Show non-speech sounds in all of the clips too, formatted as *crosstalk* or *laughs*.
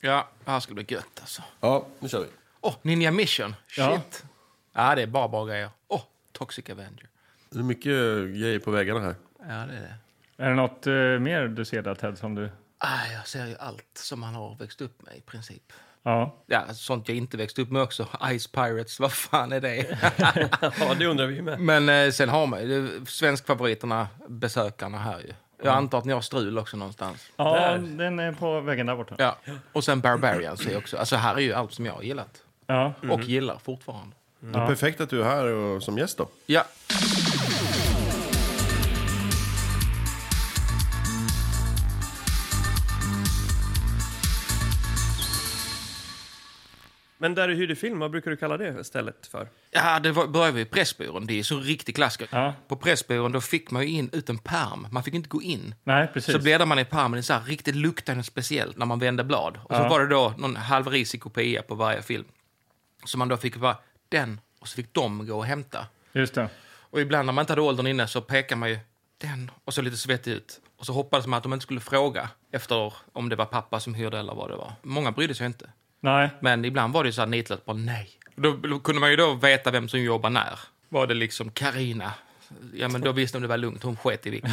Ja, det här skulle bli gött alltså. Ja, nu kör vi. Åh, Ninja Mission. Shit. Ja. Ja, det är bara bra grejer. Åh, Toxic Avenger. Det är mycket eh, grejer på väggarna här. Ja, det är det. Är det något eh, mer du ser där, Ted? Som du... Ah, jag ser ju allt som han har växt upp med i princip. Ja. Ja, sånt jag inte växte upp med också. Ice Pirates, vad fan är det? *laughs* Ja, det undrar vi ju med. Men eh, sen har man ju det- svenskfavoriterna, besökarna här ju. Jag antar att ni har strul också någonstans. ja, den är på väggen där borta. Ja. Och sen Barbarian ser jag också. Alltså här är ju allt som jag har gillat. Ja. Mhm. Och gillar fortfarande. Det är perfekt att du är här och, som gäst då. Ja. Men där du hyrde film, vad brukar du kalla det stället för? Ja, det var, började vi i Pressbyrån. Det är så riktig klassiker. Ja. På Pressbyrån då fick man ju in ut en perm. Man fick inte gå in. Nej, precis. Så bläddrar man i permen, det är så här riktigt luktande speciellt när man vände blad. Och så Ja. var det då någon halvrisig kopia på varje film. Så man då fick vara den, och så fick de gå och hämta. Just det. Och ibland när man inte hade åldern inne så pekade man ju den och så lite svettig ut. Och så hoppades man att de inte skulle fråga efter om det var pappa som hyrde eller vad det var. Många brydde sig inte. Nej. Men ibland var det ju så här nitlöst bara nej. Då då kunde man ju då veta vem som jobbar när. Var det liksom Karina? Ja, men då visste de det var lugnt. Hon sket i *laughs* vikten.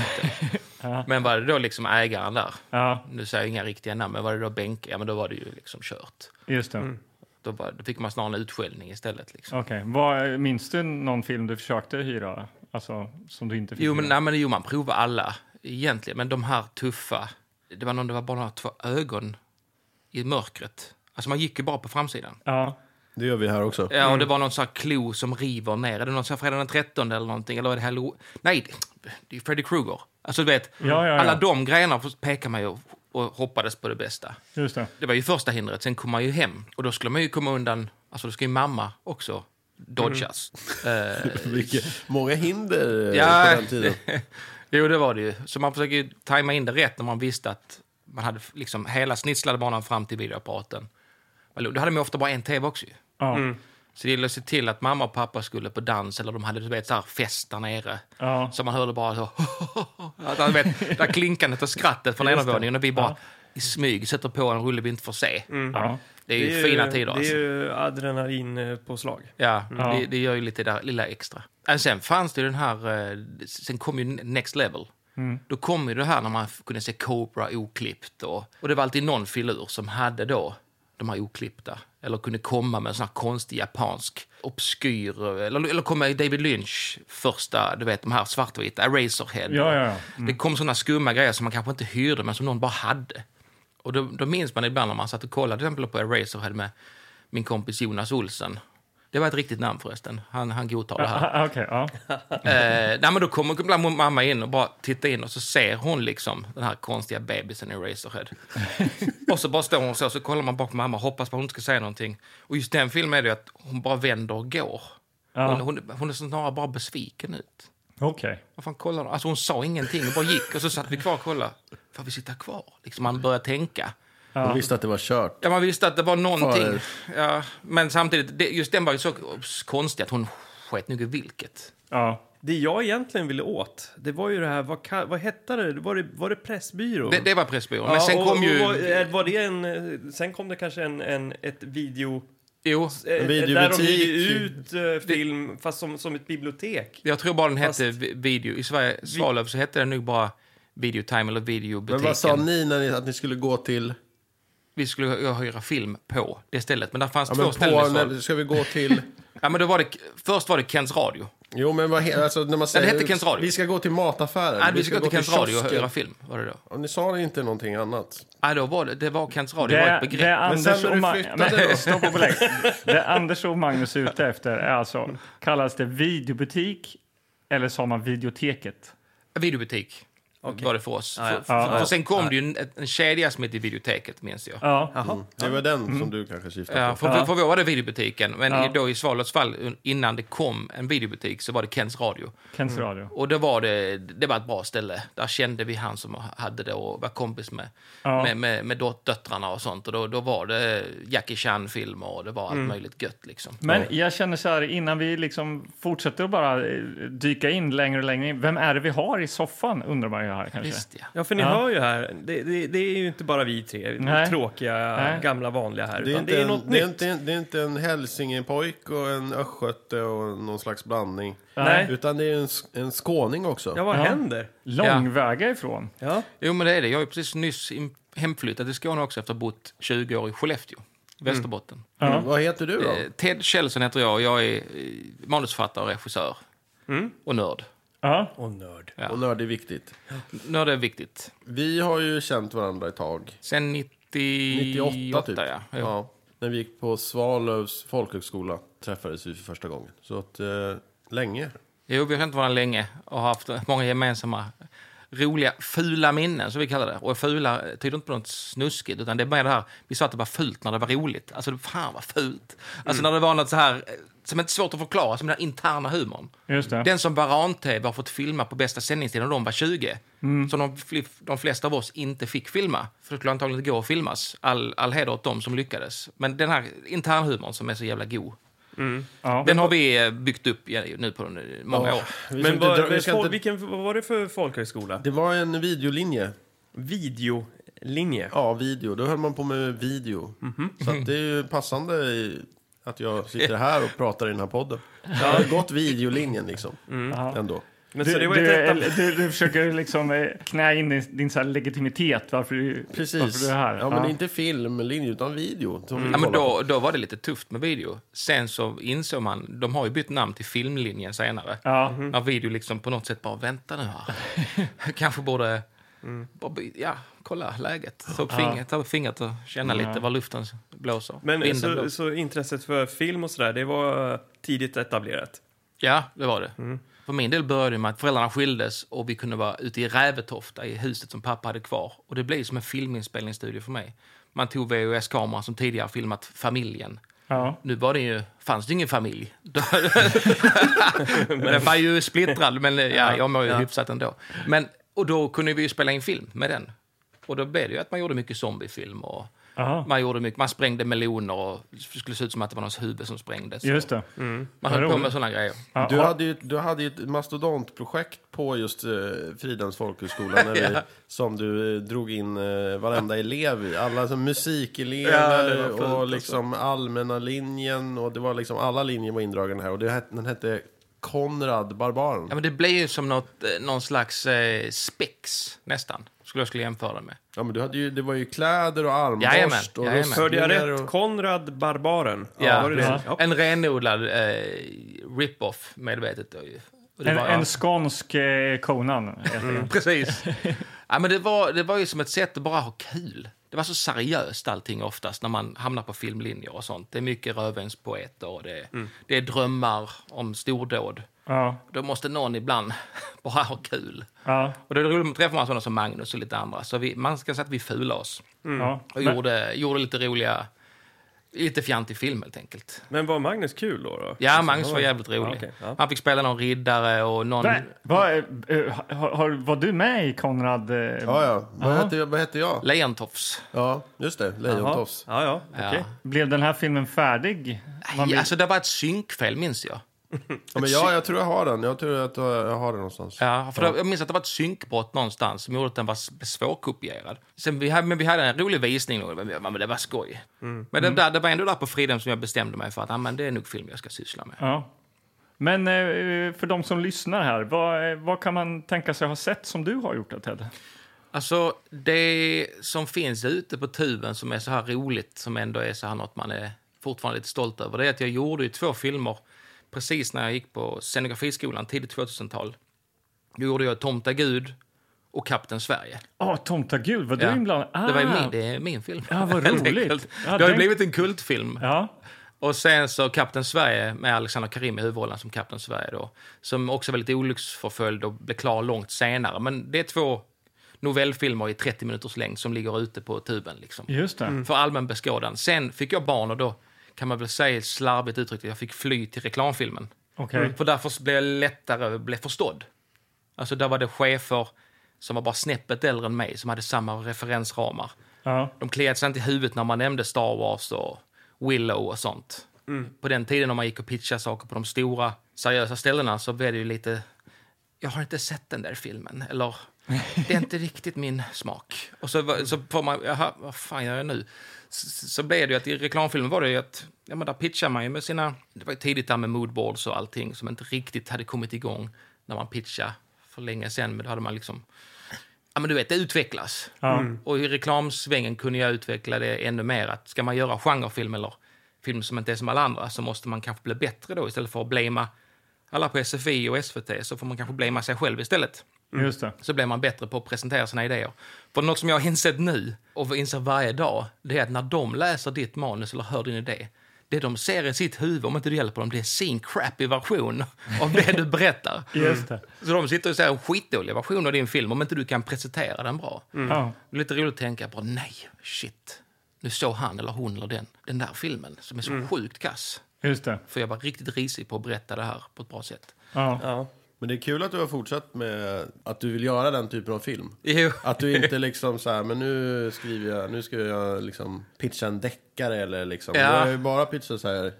Men var det då liksom ägaren där? Ja, Nu säger jag inga riktiga namn, men var det då Benke? Ja, men då var det ju liksom kört. just det. Mm. Då, var, då fick man snarare en utskällning istället. Liksom. Okej. Vad- Minns du någon film du försökte hyra? Alltså, som du inte fick Jo, men, hyra? nej, men jo, man provar alla egentligen. Men de här tuffa, det var någon, det var bara några två ögon i mörkret. Alltså man gick ju bara på framsidan. Ja. Det gör vi här också. *laughs* Ja, Mm. och det var någon sån här klo som river ner. Är det någon sån här fredag den 13 eller någonting? Eller är det Halloween? Nej, det- det är Freddy Krueger. Alltså du vet, Ja, ja, ja. alla de grejerna pekar man ju och hoppades på det bästa. Just det. Det var ju första hindret, sen kom man ju hem. Och då skulle man ju komma undan, alltså då ska ju mamma också dodgas. Mm. Eh, Vilket- Många hinder eh, Ja. på den *laughs* tiden. Jo, det var det ju. Så man försöker ju tajma in det rätt när man visste att man hade liksom hela snitslade banan fram till videoapparaten. Men Då hade man ju ofta bara en tv också ju. Ja. Så det gällde att se till att mamma och pappa skulle på dans eller de hade du vet, så här fest där nere. Ja. Så man hörde bara så... *laughs* att, han, vet, det där klinkandet och skrattet från ena våningen och vi bara i smyg sätter på en rulle vi inte får se. ja. Mm. Det är ju fina tider. Det alltså. är ju eh, adrenalinpåslag. Ja, Mm. Ja. Det, det gör ju lite det där lilla extra. Men sen fanns det ju den här, eh, sen kom ju Next Level. Mm. Då kom ju det här när man f- kunde se Cobra oklippt och, och det var alltid någon filur som hade då de här oklippta. Eller kunde komma med en sån här konstig japansk obskyr, eller, eller komma i David Lynch första, du vet de här svartvita, Eraserhead. Ja, ja, ja. Det kom såna skumma grejer som man kanske inte hyrde, men som någon bara hade. Och då, då minns man ibland när man satt och kollade till exempel på Eraserhead med min kompis Jonas Olsen. Det var ett riktigt namn förresten. Han, han godtar det här. Ah, Okej, ja. Eh, nej, men då kommer ibland mamma in och bara tittar in och så ser hon liksom den här konstiga bebisen i Eraserhead. och så bara står hon så, så kollar man bakom mamma och hoppas på att hon inte ska säga någonting. Och just den filmen är det ju att hon bara vänder och går. Hon, hon, hon är snarare bara besviken ut. Okej. Vad fan kollar hon? Alltså hon sa ingenting och bara gick och så satt vi kvar och kollade. Får vi sitta kvar? Liksom man började tänka. De visste att det var kört. Ja, man visste att det var någonting. Fader. Ja, men samtidigt, det, just den var ju så konstig att hon sket nog i vilket. Ja. Det jag egentligen ville åt, det var ju det här, vad, ka- vad hette det? Var det, var det Pressbyrån? Det, det var Pressbyrån. Ja, men sen och- kom ju... och var- är- var det en, eh, sen kom det kanske en, en, ett video... jo, eh, Där de videobutik. ger ut eh, film, fast som, som ett bibliotek. jag tror bara den hette Fast- vi- Video. I Sverige, Svalöv så hette den nog bara Videotime eller Men vad sa Videobutiken. ni när ni, att ni skulle gå till... Vi skulle hy- hyra film på det stället. Men där fanns Ja, två men ställen i på, Svalöv. när, ska vi *laughs* gå till... Ja, men då var det, först var det Kents Radio. Jo, men vad he, alltså, när man säger... hette Kens Radio. Vi ska gå till mataffären. Nej, vi skulle gå till Kents Radio och kiosken. hyra film. Var det då? Ja, Ni sa inte någonting annat. Ja, då var det, det var Kents radio, det, var Det, ett begrepp. det sen Anders när och du Ma- flyttade Men- då? Stopp och belägg. Det Anders och Magnus är ute efter är alltså, kallas det videobutik eller sa man videoteket? Videobutik var det för oss. ja. För, för, Ja, för, ja. sen kom det ju en, en kedja som hette Videoteket, minns jag. Ja, Jaha. Det var den som du kanske syftade Mm. Ja, på. för, för, för vi var det videobutiken, men Ja. i- då i Svalövs fall, un- innan det kom en videobutik, så var det Kents radio. Kents radio. Och det var, det, det var ett bra ställe. Där kände vi han som hade det och var kompis med, Ja. med, med, med dot- döttrarna och sånt. Och då, då var det Jackie Chan-filmer och det var allt möjligt gött liksom. Mm. Men jag känner så här, innan vi liksom fortsätter att bara eh, dyka in längre och längre in. Vem är det vi har i soffan undrar man ju jag här kanske. Visst, ja. Ja, för ni Ja. hör ju här, det, det, det är ju inte bara vi tre Nej. tråkiga Nej. gamla vanliga här, Det är, utan inte det är en, något det, är nytt. inte, en- det är inte en hälsingepojk och en östgöte och någon slags blandning. Nej, Utan det är en, sk- en skåning också. ja vad Ja. händer? Långväga ifrån. Ja. Jo, men det är det. Jag har ju precis nyss im- hemflyttat till Skåne också efter att ha bott 20 år i Skellefteå, Västerbotten. Mm. Vad heter du då? Eh, Ted Kjellson heter jag och jag är eh, manusförfattare, regissör Mm. och nörd. Ja. Och nörd. ja. Och nörd är viktigt. Nörd är viktigt. Vi har ju känt varandra ett tag. Sen 98, 98 typ. ja. Jo. När vi gick på Svalövs folkhögskola träffades vi för första gången. Så att, eh, länge. Jo, vi har känt varandra länge och har haft många gemensamma roliga, fula minnen som vi kallar det. Och fula tyder inte på något snuskigt, utan det är mer det här, vi sa att det var fult när det var roligt. Alltså, fan vad fult. Alltså Mm. när det var något så här, eh, som inte är svårt att förklara, som den här interna humorn. Just det. Den som Baran-TV har fått filma på bästa sändningstiden när de var 20, som de, fli- de flesta av oss inte fick filma, för det skulle antagligen inte gå att filmas. All, all heder åt dem som lyckades. Men den här internhumorn som är så jävla god, Ja. den har vi eh, byggt upp i- nu på eh, många år. Vi ska Men inte vad, dra- vi vad, ska inte, vilken, vad var det för folkhögskola? det var en videolinje. Videolinje. Ja, video. Då höll man på med video. Mhm. Så att det är ju passande i, att jag sitter här och pratar i den här podden. Jag har gått videolinjen liksom. Mm. Ändå. Men Du, så det var du, ett etapp- eller- du, du försöker liksom eh, knä in din, din så här legitimitet varför du, varför Precis. du är här. Ja, men det är Ja. inte filmlinje utan video. Som Ja, vi men kollar på. då, då var det lite tufft med video. Sen så insåg man, de har ju bytt namn till filmlinjen senare. Ja. Mhm. När video liksom på något sätt bara, vänta nu här. *laughs* Kanske borde, Mm. bara, by- ja, kolla läget. Ta upp fingret, ta upp fingret och känna lite var luften blåser. Men eh, Vinden så, blåser. så intresset för film och sådär, det var tidigt etablerat? Ja, det var det. Mm. För min del började det med att föräldrarna skildes och vi kunde vara ute i Rävetofta, i huset som pappa hade kvar. Och det blev som en filminspelningsstudio för mig. Man tog VHS-kameran som tidigare filmat familjen. Ja. Nu var det ju, fanns det ingen familj. *laughs* men den var ju splittrad, men eh, ja, jag mår ju hyfsat ändå. Men, och då kunde vi ju spela in film med den. Och då blev det ju att man gjorde mycket zombiefilm och Aha. man, gjorde mycket, man sprängde meloner och det skulle se ut som att det var någons huvud som sprängdes. Just det. Man vad höll på roligt. med sådana grejer. Ja, Du ja. hade, ju, du hade ju ett mastodontprojekt på just eh, Fridhems folkhögskola *laughs* när vi, som du eh, drog in eh, varenda elev i. Alla som Ja, musikelever det var fint och alltså. liksom allmänna linjen och det var liksom alla linjer var indragna här och det, het- den hette Konrad Barbaren. Ja, men det blev ju som något, eh, någon slags eh, spex nästan, skulle jag skulle jämföra det med. Ja men du hade ju, det var ju kläder och Jajamän, armborst och jajamän. Hörde jag rustningar rätt? och... Konrad Barbaren? Ja, var det precis. det? Ja. En renodlad eh, rip-off, medvetet. då ju. Och det En, var- en skånsk eh, Conan. heter Mm. det. *laughs* *laughs* Precis. ja, men det, var, det var ju som ett sätt att bara ha kul. Det var så seriöst allting oftast när man hamnar på filmlinjer och sånt. Det är mycket rövens poeter och det, Mm. det är drömmar om stordåd. Ja. Då måste någon ibland *laughs* bara ha kul. Ja. Och då träffar man sådana som Magnus och lite andra. Så vi, man ska säga att vi fulade oss. Ja. Och gjorde, gjorde lite roliga, lite fjantig film helt enkelt. Men var Magnus kul då? då? Ja, Magnus var jävligt rolig. Alltså, Ja, okej, ja. Han fick spela någon riddare och någon... Va, va, eh, har, har, var du med i Konrad? eh, Ja, ja. Vad hette, jag- vad hette jag? Lejontofs. Ja, just det. Jaha. Lejontofs. Ja, ja, okej. Ja. Blev den här filmen färdig? Man Ja, vill- alltså, det var ett synkfel, minns jag. Ja, men ja, jag tror jag har den. Jag tror att jag jag har den någonstans. Ja, för Jag minns att det var ett synkbrott någonstans som gjorde att den var s- svårkopierad. Sen vi hade, men vi hade en rolig visning, och men- men det var skoj. Men det, där, det var ändå där på Freedom som jag bestämde mig för att ah, men det är nog film jag ska syssla med. Ja. Men eh, för de som lyssnar här, vad, eh, vad kan man tänka sig ha sett som du har gjort då, Ted? Alltså, det som finns ute på tuben som är så här roligt, som ändå är så här något man är fortfarande lite stolt över, det är att jag gjorde ju två filmer precis när jag gick på scenografiskolan, tidigt 2000-tal. Då gjorde jag Tomta Gud och Kapten Sverige. Ja, Tomtagud, var Ja. Ah, du inblandad? Det var ju Ah. min, det är min film. Ja, vad Helt roligt. enkelt. det Ja, har ju den- blivit en kultfilm. Ja, Och sen så Kapten Sverige med Alexander Karim i huvudrollen som Kapten Sverige då. Som också var lite olycksförföljd och blev klar långt senare. Men det är två novellfilmer i 30 minuters längd som ligger ute på tuben liksom. just det. För allmän beskådan. Sen fick jag barn och då kan man väl säga slarvigt uttryckt att jag fick fly till reklamfilmen. Okej. För därför blev jag lättare blev förstådd. Alltså där var det chefer som var bara snäppet äldre än mig som hade samma referensramar. Ja. De kliade sig inte i huvudet när man nämnde Star Wars och Willow och sånt. På den tiden när man gick och pitchade saker på de stora seriösa ställena så blev det ju lite... Jag har inte sett den där filmen. Eller det är inte riktigt min smak. Och så, var- så får man, jaha, vad fan gör jag nu? Så, så blev det ju att i reklamfilmen var det ju att, ja men där pitchar man ju med sina, det var ju tidigt där med moodboards och allting som inte riktigt hade kommit igång när man pitchade för länge sedan, men då hade man liksom, ja men du vet, det utvecklas. Och i reklamsvängen kunde jag utveckla det ännu mer, att ska man göra genrefilm eller film som inte är som alla andra så måste man kanske bli bättre då istället för att blamea alla på SFI och SVT så får man kanske blamea sig själv istället Just det. så blir man bättre på att presentera sina idéer. För något som jag har insett nu, och inser varje dag, det är att när de läser ditt manus eller hör din idé, det de ser i sitt huvud, om inte du hjälper dem, det är sin crappy version *laughs* av det du berättar. Just det. Så de sitter och ser en skitdålig version av din film om inte du kan presentera den bra. Ja. Det är lite roligt att tänka på, nej, shit, nu såg han eller hon eller den, den där filmen som är så sjukt kass. Just det. För jag var riktigt risig på att berätta det här på ett bra sätt. Ja. Ja. Men det är kul att du har fortsatt med att du vill göra den typen av film. Jo. Att du inte liksom så här, men nu skriver jag, nu ska jag liksom pitcha en deckare eller liksom. Ja. Jag har ju bara pitchat så här,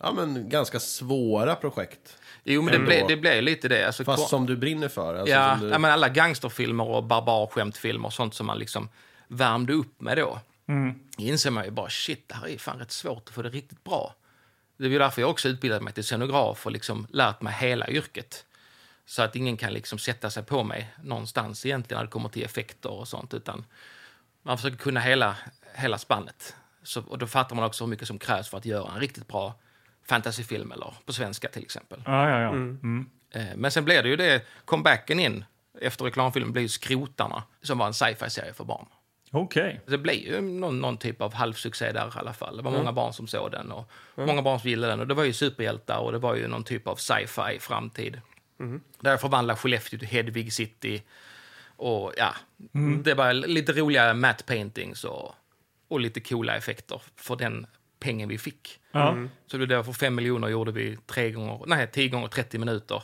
ja men ganska svåra projekt. Jo, men det Ändå. blev, det blev lite det. Alltså, Fast kom- som du brinner för. Alltså, ja, som du... ja, men alla gangsterfilmer och barbarskämtfilmer och sånt som man liksom värmde upp med då. Mm. inser man ju bara shit, det här är fan rätt svårt att få det riktigt bra. Det är ju därför jag också utbildat mig till scenograf och liksom lärt mig hela yrket. Så att ingen kan liksom sätta sig på mig någonstans egentligen när det kommer till effekter och sånt. Utan man försöker kunna hela, hela spannet. Så, och då fattar man också hur mycket som krävs för att göra en riktigt bra fantasyfilm eller på svenska till exempel. Ja, ja, ja. Mm. Eh, Men sen blev det ju det, comebacken in efter reklamfilmen blev ju Skrotarna, som var en sci-fi-serie för barn. Okej. Det blev ju någon, någon typ av halvsuccé där i alla fall. Det var många barn som såg den och många barn som gillade den. Och det var ju superhjältar och det var ju någon typ av sci-fi framtid. Där förvandlade Skellefteå till Hedvig City. Och ja, det var lite roliga matte paintings och, och lite coola effekter för den pengen vi fick. Ja. Så det där för 5 miljoner gjorde vi tre gånger, nej, 10 gånger 30 minuter.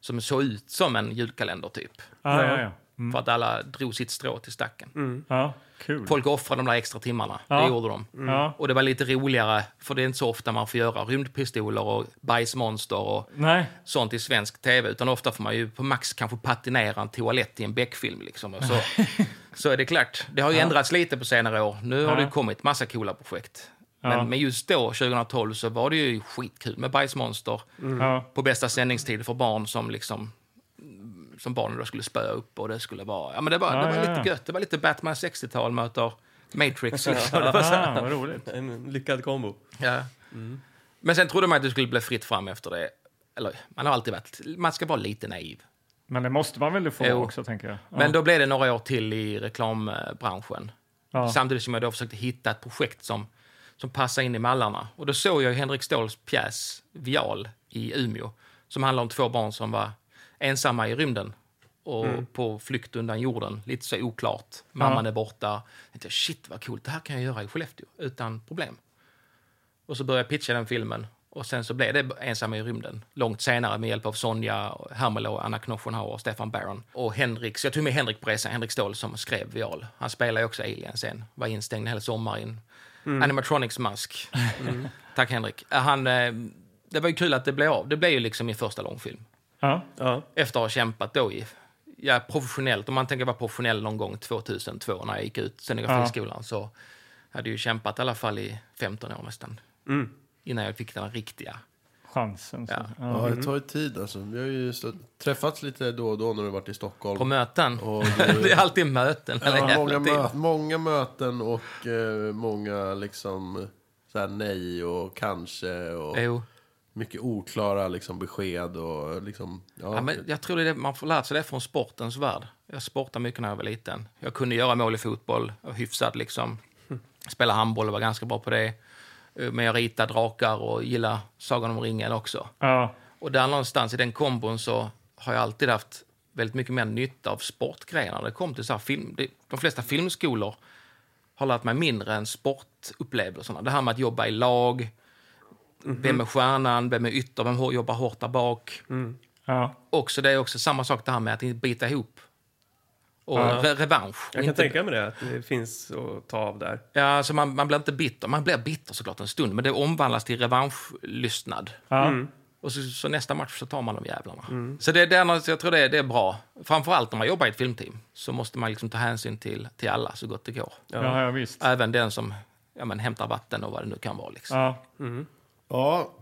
Som såg ut som en julkalender typ. Ja, ja, ja. För att alla drog sitt strå till stacken. Ja, kul. Folk offrade de där extra timmarna. Ja. Det gjorde de. Ja. Och det var lite roligare, för det är inte så ofta man får göra rymdpistoler och bajsmonster och Nej. sånt i svensk tv. Utan ofta får man ju på max kanske patinera en toalett i en Beck-film. Liksom. Och *laughs* Så, så är det klart. Det har ju ändrats lite på senare år. Nu har det ju kommit massa coola projekt. Men, Ja. men just då, 2012, så var det ju skitkul med bajsmonster Ja. på bästa sändningstid för barn som liksom som barnen då skulle spöa upp och det skulle vara, ja men det var, Ja, det var ja, ja. lite gött, det var lite Batman 60-tal möter *laughs* Matrix liksom. Det var så här. Ah, vad roligt. En lyckad kombo. Ja. Mm. Men sen trodde man att det skulle bli fritt fram efter det. Eller, man har alltid varit, man ska vara lite naiv. Men det måste man väl få Jo. också, tänker jag. Ja. Men då blev det några år till i reklambranschen. Ja. Samtidigt som jag då försökte hitta ett projekt som, som passar in i mallarna. Och då såg jag Henrik Ståhls pjäs Vial i Umeå som handlar om två barn som var ensamma i rymden och Mm. på flykt undan jorden. Lite så oklart. Mamman är borta. Jag tänkte, shit vad coolt, det här kan jag göra i Skellefteå utan problem. Och så började jag pitcha den filmen. Och sen så blev det Ensamma i rymden. Långt senare med hjälp av Sonja Hermelo, Anna Knopfenhauer och Stefan Baron. Och Henrik, så jag tog med Henrik på resan, Henrik Ståhl som skrev Vial. Han spelade ju också Alien sen. Var instängd hela sommaren i en animatronics-mask. Tack Henrik. Han, eh, det var ju kul att det blev av. Det blev ju liksom min första långfilm Ja. Ja. efter att ha kämpat då i, ja, professionellt, om man tänker vara professionell någon gång 2002 när jag gick ut scenografiskolan så hade jag ju kämpat i alla fall i 15 år nästan. Mm. Innan jag fick den riktiga. Chansen. Så. Ja. Ja. Ja, det tar ju tid alltså. Vi har ju stött, träffats lite då och då när du varit i Stockholm. På möten. *laughs* och det du, är alltid möten. hela ja, jävla många, tiden. mö, många möten och eh, många liksom så här, nej och kanske och Jo. mycket oklara liksom, besked och liksom... Ja, Ja, men jag tror det är det man får lära sig det från sportens värld. Jag sportade mycket när jag var liten. Jag kunde göra mål i fotboll, jag var hyfsad liksom. Spela handboll och var ganska bra på det. Eh, Men jag ritade drakar och gillar Sagan om ringen också. Ja. Och där någonstans i den kombon så har jag alltid haft väldigt mycket mer nytta av sportgrejer när det kom till så här film. det- De flesta filmskolor har lärt mig mindre än sportupplevelserna. Det här med att jobba i lag, Mhm. vem är stjärnan, vem är ytter, vem hår- jobbar hårt där bak. Mm. Ja. Också, det är också samma sak det här med att inte bita ihop. Och re- revansch. Jag Och kan inte, tänka mig det, att det finns att ta av där. ja, alltså man, man blir inte bitter. Man blir bitter såklart en stund, men det omvandlas till revanschlystnad. Ja. Och Och så, så nästa match så tar man de jävlarna. Så det, det är, något- jag tror det, är- det är bra. Framförallt när man jobbar i ett filmteam så måste man liksom ta hänsyn till, till alla så gott det går. Ja, ja visst. Även den som ja, men, hämtar vatten och vad det nu kan vara. Liksom. Ja. Ja,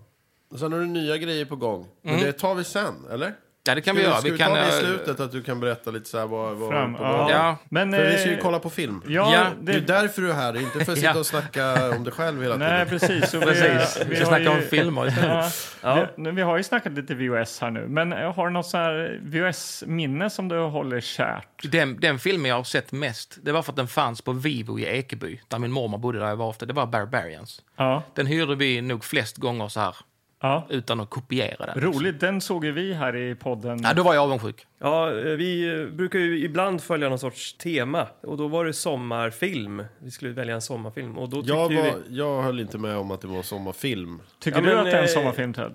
och sen har du nya grejer på gång. Men det tar vi sen, eller? Ja, Mm. det kan Ska vi göra. Ska vi, Vi kan, ta det eh, i slutet, att du kan berätta lite så här vad... vad Fram, på gång? ja. Ja. Men, För vi ska ju eh, kolla på film. Ja, Ja, Det är ju det, därför du är här, inte *laughs* för att sitta Ja. och snacka om dig själv hela tiden. nej, precis. Så Precis. Vi, ska har snacka om ju- filmer istället. Ja. Vi, nu, vi har ju snackat lite VHS här nu, men eh, har du något så här VHS-minne som du håller kärt? Den, den filmen jag har sett mest, det var för att den fanns på Vivo i Ekeby, där min mormor bodde där jag var ofta. Det var Barbarians. Ja, Den hyrde vi nog flest gånger så här, ja. utan att kopiera den. Roligt, den såg ju vi här i podden. Ja, då var jag avundsjuk. Ja, eh, vi eh, brukar ju ibland följa någon sorts tema och då var det sommarfilm. Vi skulle välja en sommarfilm och då tyckte Jag, ju vi... var, jag höll inte med om att det var sommarfilm. Tycker Ja, du men, att det är en eh, sommarfilm, Ted?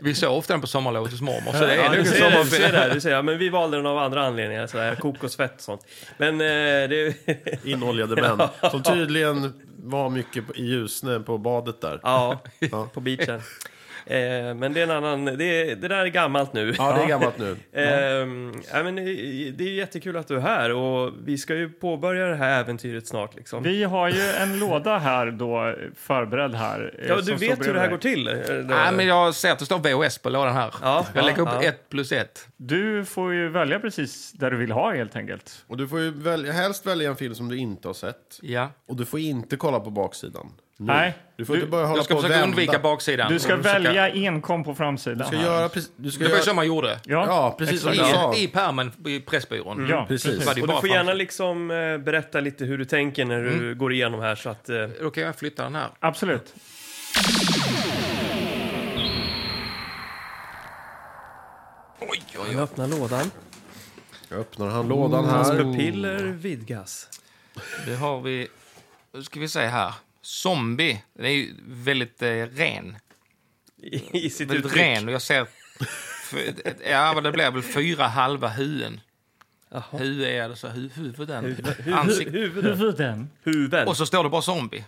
Vi såg ofta den på sommarlovet hos mormor, så det är Ja, nog du en ser det, du sommarfilm. ser det, du ser det. Ja, Men vi valde den av andra anledningar, sådär, kok och svett och sånt. Men eh, det... Inoljade *laughs* män. Som tydligen var mycket på- i Ljusne på badet där. *laughs* ja, på beachen. Eh, men det är en annan... Det, det där är gammalt nu. Ja, det är gammalt nu. Ehm, ja, men, eh, det är jättekul att du är här och vi ska ju påbörja det här äventyret snart. Liksom. Vi har ju en låda här då, förberedd här. eh, ja, som du står vet hur det här bredvid. går till. eh, det- Nej, men jag ser att det står VHS på lådan här. Ja, jag lägger ja, upp ja. ett plus ett. Du får ju välja precis där du vill ha helt enkelt. Och du får ju välja, helst välja en film som du inte har sett. Ja. Och du får inte kolla på baksidan. Nu. Nej. Du får Du- inte börja hålla Jag ska på och försöka vända. undvika baksidan. Mm, Du ska Jag försöker- välja enkom på framsidan. Du ska här. göra precis... Du ska Det var ju göra... så man gjorde. Ja, Mm. Ja, precis som I, du sa. I pärmen i Pressbyrån. ja, precis. precis. Var det Och du bara får framför- gärna liksom, eh, berätta lite hur du tänker när du går igenom här. Så att, eh, Då kan jag flytta den här. Absolut. Oj, oj, jag öppnar lådan. Jag öppnar han lådan Hans här. pupiller vidgas. Det har vi... Nu ska vi se här. Zombie. Den är ju väldigt eh, ren. I, i sitt Väldigt uttryck. ren. Och jag ser... f- ett- Ja, men det blir väl fyra halva huvuden. Jaha. Huvud är det så. Hu- huvuden. Hu- Ansikte. Huvudet. Huvuden. Huvuden. Och så står det bara zombie.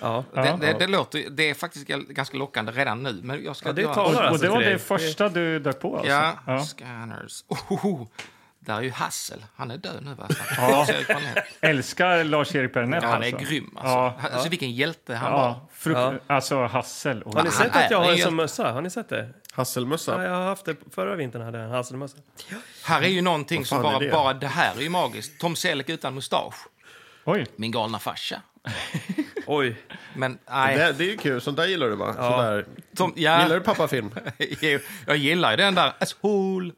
Ja. Det, det, det, låter, det är faktiskt ganska lockande redan nu. Men jag ska Ja, inte det göra- talar. Och alltså det var till det dig. första du dök på alltså? Ja, Ja. scanners. Ohoho. Där är ju Hassel. Han är död nu, va? *laughs* Ja. Söker man hem. Älskar Lars-Erik Bernett Ja, han är alltså. grym. Alltså. Ja. Han- alltså, vilken hjälte han var. Ja, frukt, Ja. Alltså Hassel. Och Har ni Han sett är att jag har en en som mössa? Har ni sett det? Ja, Hasselmössa. jag har haft det förra vintern. hade jag en hasselmössa. Här är ju någonting som fan bara, är det? bara det här är ju magiskt. Tom Selleck utan mustasch. Oj, Min galna farsa. Oj. Men nej, Det, det är ju kul. Sånt där gillar du va? Sådär. Tom, ja, Gillar du pappafilm? *laughs* jag, gillar ju den där asshole.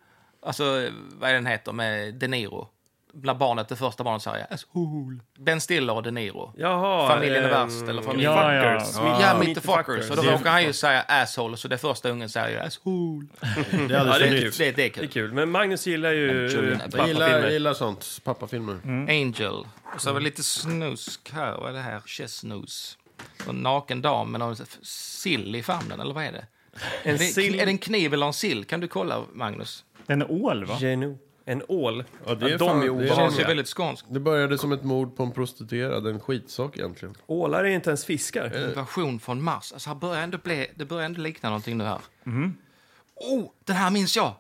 Alltså, vad är den heter med De Niro? Bland barnet, det första barnet säger jag asshole. Ben Stiller och De Niro. Jaha. Familjen är ehm, värst, eller familjen- Ja, ja. Fuckers. Ja. Meet- Ja, meet mitt the the fuckers. Och då Det är- råkar han ju säga asshole, så det första ungen säger ju asshole. Det är alldeles Ja, det för är nytt. kul. Det, det är Det är kul. kul. Men Magnus gillar ju Julian, eh, Jag gillar, jag pappafilmer. gillar sånt. Pappafilmer. Mm. Angel. Och så var det lite snusk här. Vad är det här? Chessnus. En naken dam med någon sill i famnen, eller vad är det? En sill? Är det en kniv eller en sill? Kan du kolla, Magnus? en ål va? Genu. En ål. Ja, det är Ja, fan- de det är- är Det känns ju obehagliga. väldigt skånskt. Det började som ett mord på en prostituerad. En skitsak egentligen. Ålar är inte ens fiskar. Invasion från Mars. Alltså, här börjar ändå bli, det börjar ändå likna någonting nu här. Oh, den här minns jag!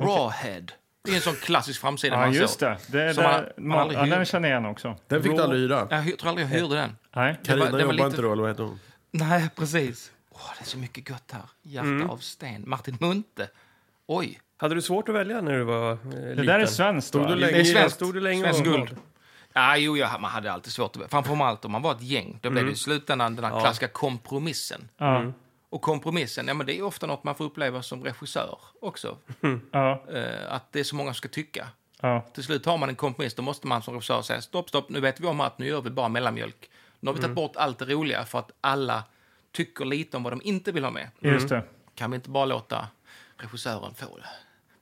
Rawhead. Det är en sån klassisk framsida Ja, man just såg. det. det är Som där, man- man, man aldrig ja, den hyr. känner jag igen också. Den fick du aldrig hyra. Jag hy- tror aldrig jag hyrde den. Nej. det Carina var jobbar lite- inte då, eller vad heter hon? Nej, precis. Mm. Åh, det är så mycket gött här. Hjärta av sten. Martin Munthe. Oj. Hade du svårt att välja när du var eh, liten? Det där är svenskt Stod va? du länge- Det är svenskt. Stod du länge svenskt och var guld. Ja, jo, jag, man hade alltid svårt att... Framförallt om man var ett gäng. Då blev Mm. det i slutändan den här klassiska kompromissen. Ja, Och kompromissen, ja, men det är ju ofta något man får uppleva som regissör också. ja, Eh, att det är så många som ska tycka. ja. Till slut har man en kompromiss, då måste man som regissör säga stopp, stopp, nu vet vi om att nu gör vi bara mellanmjölk. Nu har Mm. vi tagit bort allt det roliga för att alla tycker lite om vad de inte vill ha med. Just det. Kan vi inte bara låta regissören få det?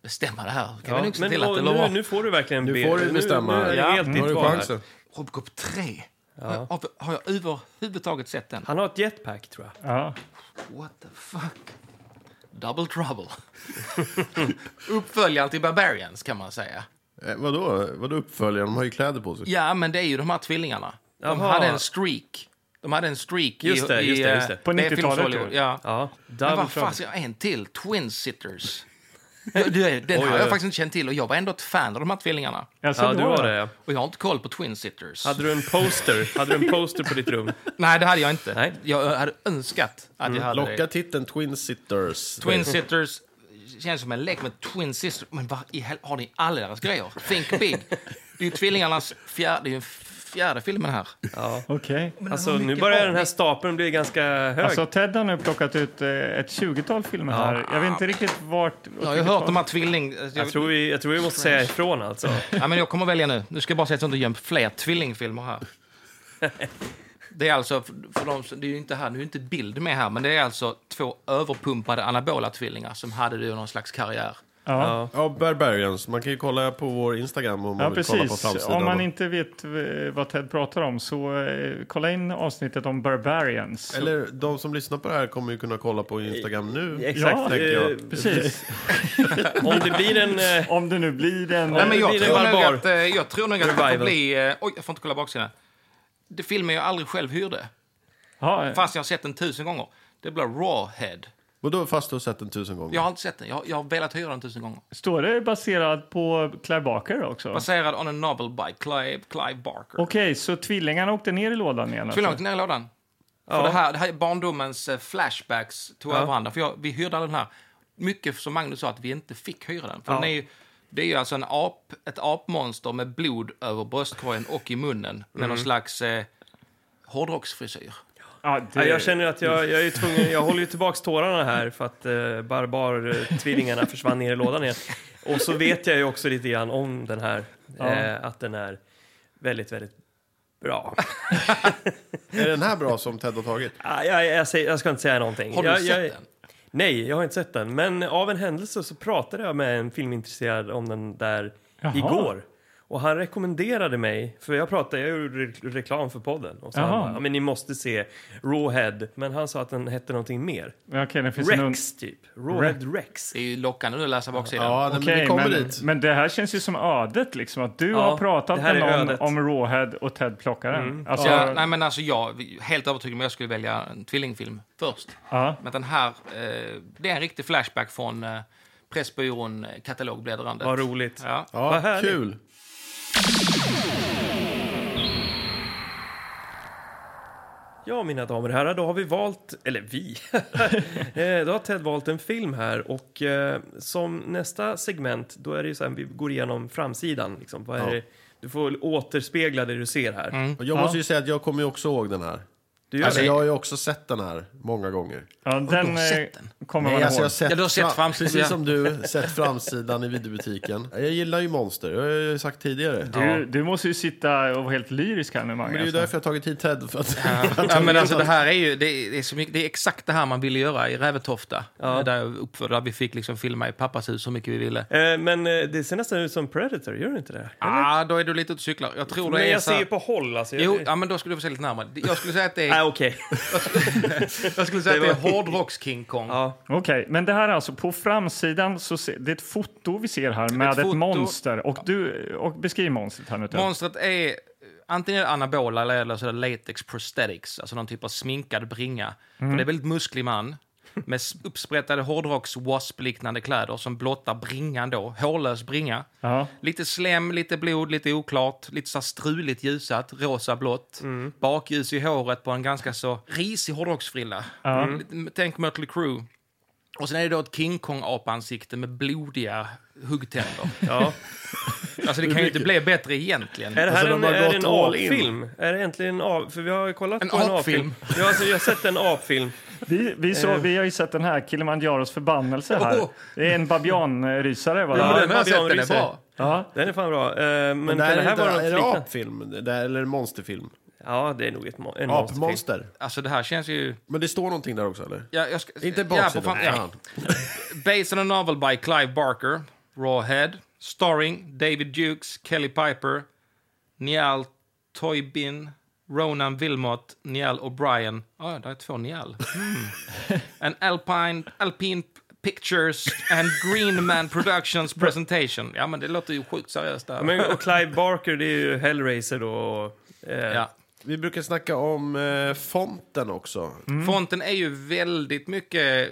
bestämma det här? Kan Ja, vi nog se men till att och det nu, blir nu får du verkligen Nu be- får du bestämma. Nu, nu är det Ja. helt Nu har ditt du val här. chansen. Robocop 3? Har, har jag överhuvudtaget sett den? Han har ett jetpack tror jag. Ja. What the fuck? Double trouble. *laughs* Uppföljaren till Barbarians kan man säga. Eh, vadå? Vadå uppföljaren? De har ju kläder på sig. Ja, men det är ju de här tvillingarna. De Jaha. hade en streak. De hade en streak Just det, i, just det, i just det. eh, På 90-talet, filmsålig- ju. Ja. Ja, Men double vad trouble. fan, ska jag en till? Twin sitters. Ja, det- Den har Oj, oj, oj. jag faktiskt inte känt till och jag var ändå ett fan av de här tvillingarna. Alltså, Ja, då- du var det ja. Och jag har inte koll på twin sitters. Hade du en poster? Hade du en poster på ditt rum? Nej, det hade jag inte. Nej. Mm, Jag hade önskat att jag hade Locka det. titeln Twin Sitters. Twin sitters känns som en lek med twin sisters. Men vad i hel... har ni alla deras grejer? Think big. Det är ju tvillingarnas fjärde, det är ju fjärde filmen här. Okej. Alltså, nu börjar den här stapeln bli ganska hög. Alltså, Ted har nu plockat ut eh, ett 20-tal filmer här. Jag vet inte riktigt vart... Jag har ju hört de här tvilling... jag, tror vi, jag tror vi måste säga ifrån alltså. Ja, men jag kommer välja nu. Nu ska jag bara säga att jag inte gömt fler tvillingfilmer här. Det är alltså, för för de, som- det är ju inte här, nu är inte bild med här, men det är alltså två överpumpade anabola tvillingar som hade det någon slags karriär. Ja, Ja, Barbarians. Man kan ju kolla på vår Instagram om man ja vill kolla på precis. framsidan. Om man inte vet eh, vad Ted pratar om så eh, kolla in avsnittet om Barbarians. Eller de som lyssnar på det här kommer ju kunna kolla på Instagram nu. Exakt. Ja, tänker jag. Eh, *laughs* Precis. Om det blir en... eh, Om det nu blir en... Nej, men jag, blir en tror nog barbar. att, eh, jag tror nog att det får Revival. bli... eh, Oj, jag får inte kolla baksidan. Det filmen jag aldrig själv hyrde, Ja, eh, fast jag har sett den tusen gånger, det blir Rawhead. Och då fast du har sett den tusen gånger? Jag har inte sett den, jag, jag har velat hyra den tusen gånger. Står det baserad på Clive Barker också? Okej, Baserad on a novel by Clive, Clive Barker. så tvillingarna åkte ner i lådan igen? Tog Alltså. långt ner i lådan. För det här, det här är barndomens eh, flashbacks tog över varandra. För jag, vi hyrde den här. Mycket som Magnus sa, att vi inte fick hyra den. För den är ju, det är ju alltså en ap, ett apmonster med blod över bröstkorgen och i munnen. Mm. Med någon slags eh, hårdrocksfrisyr. Ja, ja, det- jag känner att jag, jag är tvungen, jag håller ju tillbaks tårarna här för att eh, barbar-tvillingarna försvann ner i lådan igen. Och så vet jag ju också lite grann om den här, Ja. eh, att den är väldigt, väldigt bra. Är den här bra som Ted har tagit? Ah, jag, jag, säger, jag ska inte säga någonting. Har du jag, sett jag, den? Nej, jag har inte sett den. Men av en händelse så pratade jag med en filmintresserad om den där Jaha. igår. Och han rekommenderade mig, för jag pratade, jag gjorde re reklam för podden. Och så han Jaha. bara, "Ja, men ni måste se Rawhead. Men han sa att den hette någonting mer. Okej, det finns en un- Alltså, Rex typ. Rawhead Rex. Det är ju lockande nu att läsa baksidan. Ja, den, Okej, vi kommer men, dit. men det här känns ju som ödet, liksom. Att du Ja, har det pratat här med är någon ödet. om Rawhead och Ted plockar den. Mm. Alltså, Ja, ja, nej men alltså jag, är helt övertygad om att jag skulle välja en tvillingfilm först. Men den här, eh, det är en riktig flashback från eh, Pressbyrån eh, katalogbläddrandet. Vad roligt. Ja. Vad Ja, härligt. kul. Ja, mina damer och herrar, då har vi valt, eller vi, *laughs* Eh, då har Ted valt en film här och eh, som nästa segment, då är det ju så här, vi går igenom framsidan liksom. Vad är Ja. det? Du får återspegla det du ser här. Mm. Och jag måste ju säga att jag kommer ju också ihåg den här. Du gör Alltså, det. jag har ju också sett den här många gånger. ja, den eh, sett kommer Nej, man alltså, jag ihåg. har sett, Ja, du har sett fram- framsidan. Precis som du, sett framsidan i videobutiken. Jag gillar ju monster, jag har ju sagt tidigare. Du, du måste ju sitta och vara helt lyrisk här nu, Men det är ju Magnus. därför jag har tagit hit Ted. För att, Alltså. Ja, men alltså det här är ju det är, det är så mycket, det är exakt det här man ville göra i Rävetofta. Där jag uppför, där vi fick liksom filma i pappas hus så mycket vi ville. Eh, Men eh, det ser nästan ut som Predator, gör det inte det? Ah, då är du lite ute och cyklar. Jag tror Men det är jag så... ser ju här- på håll alltså. Jo, Jag... ja, men då skulle du få se lite närmare. Jag skulle säga att det Ah, är, okej. jag skulle säga att det det var- är hårdrocks-King Kong. Ja. Okej, men det här är alltså på framsidan så se, det är ett foto vi ser här med ett, foto. monster. Och, du, och beskriv monstret här nu. Ted. Monstret är eh, antingen är det anabola eller- eller så är det latex prosthetics, alltså någon typ av sminkad bringa. För det är en väldigt musklig man med s- uppsprättade hårdrocks wasp-liknande kläder som blottar bringan då, hårlös bringa. Ja. Lite slem, lite blod, lite oklart, lite så här struligt ljusat, rosa blått. Bakljus i håret på en ganska så risig hårdrocksfrilla. Mm. Lite- Tänk Mötley Crüe. Och sen är det då ett King Kong-apansikte med blodiga *laughs* huggtänder. Ja. Alltså det kan ju inte bli bättre egentligen. Är det här Alltså, en, de har är det en gått all apfilm? Är det egentligen en ap... För vi har ju kollat En på en apfilm. apfilm. Ja, alltså, jag har sett en apfilm. Vi, vi, Eh. så, vi har ju sett den här Kilimanjaros förbannelse här. Åh! Det är en babianrysare. Var det? Oh. Ja, men Ja, den har jag sett, den är Babianrysare. bra. ja. Den är fan bra. Eh, Men, men kan där det här är, vara något det, är det liknande? apfilm det där, eller monsterfilm? Ja, det är nog ett, mo- en monsterfilm. Apmonster. Alltså det här känns ju... Men det står någonting där också eller? Ja, jag ska, Inte ja, på baksidan. fan- ja. Based on a novel by Clive Barker, Rawhead, starring David Dukes, Kelly Piper, Niall Toybin, Ronan Wilmot, Niall O'Brien. Ah, Ja, det är två Niall. Mm. An Alpine, Alpine Pictures and Green Man Productions presentation. Ja, men det låter ju sjukt seriöst där. Men, och Clive Barker, det är ju Hellraiser då. och, Eh, ja. Vi brukar snacka om eh, fonten också. Mm. Fonten är ju väldigt mycket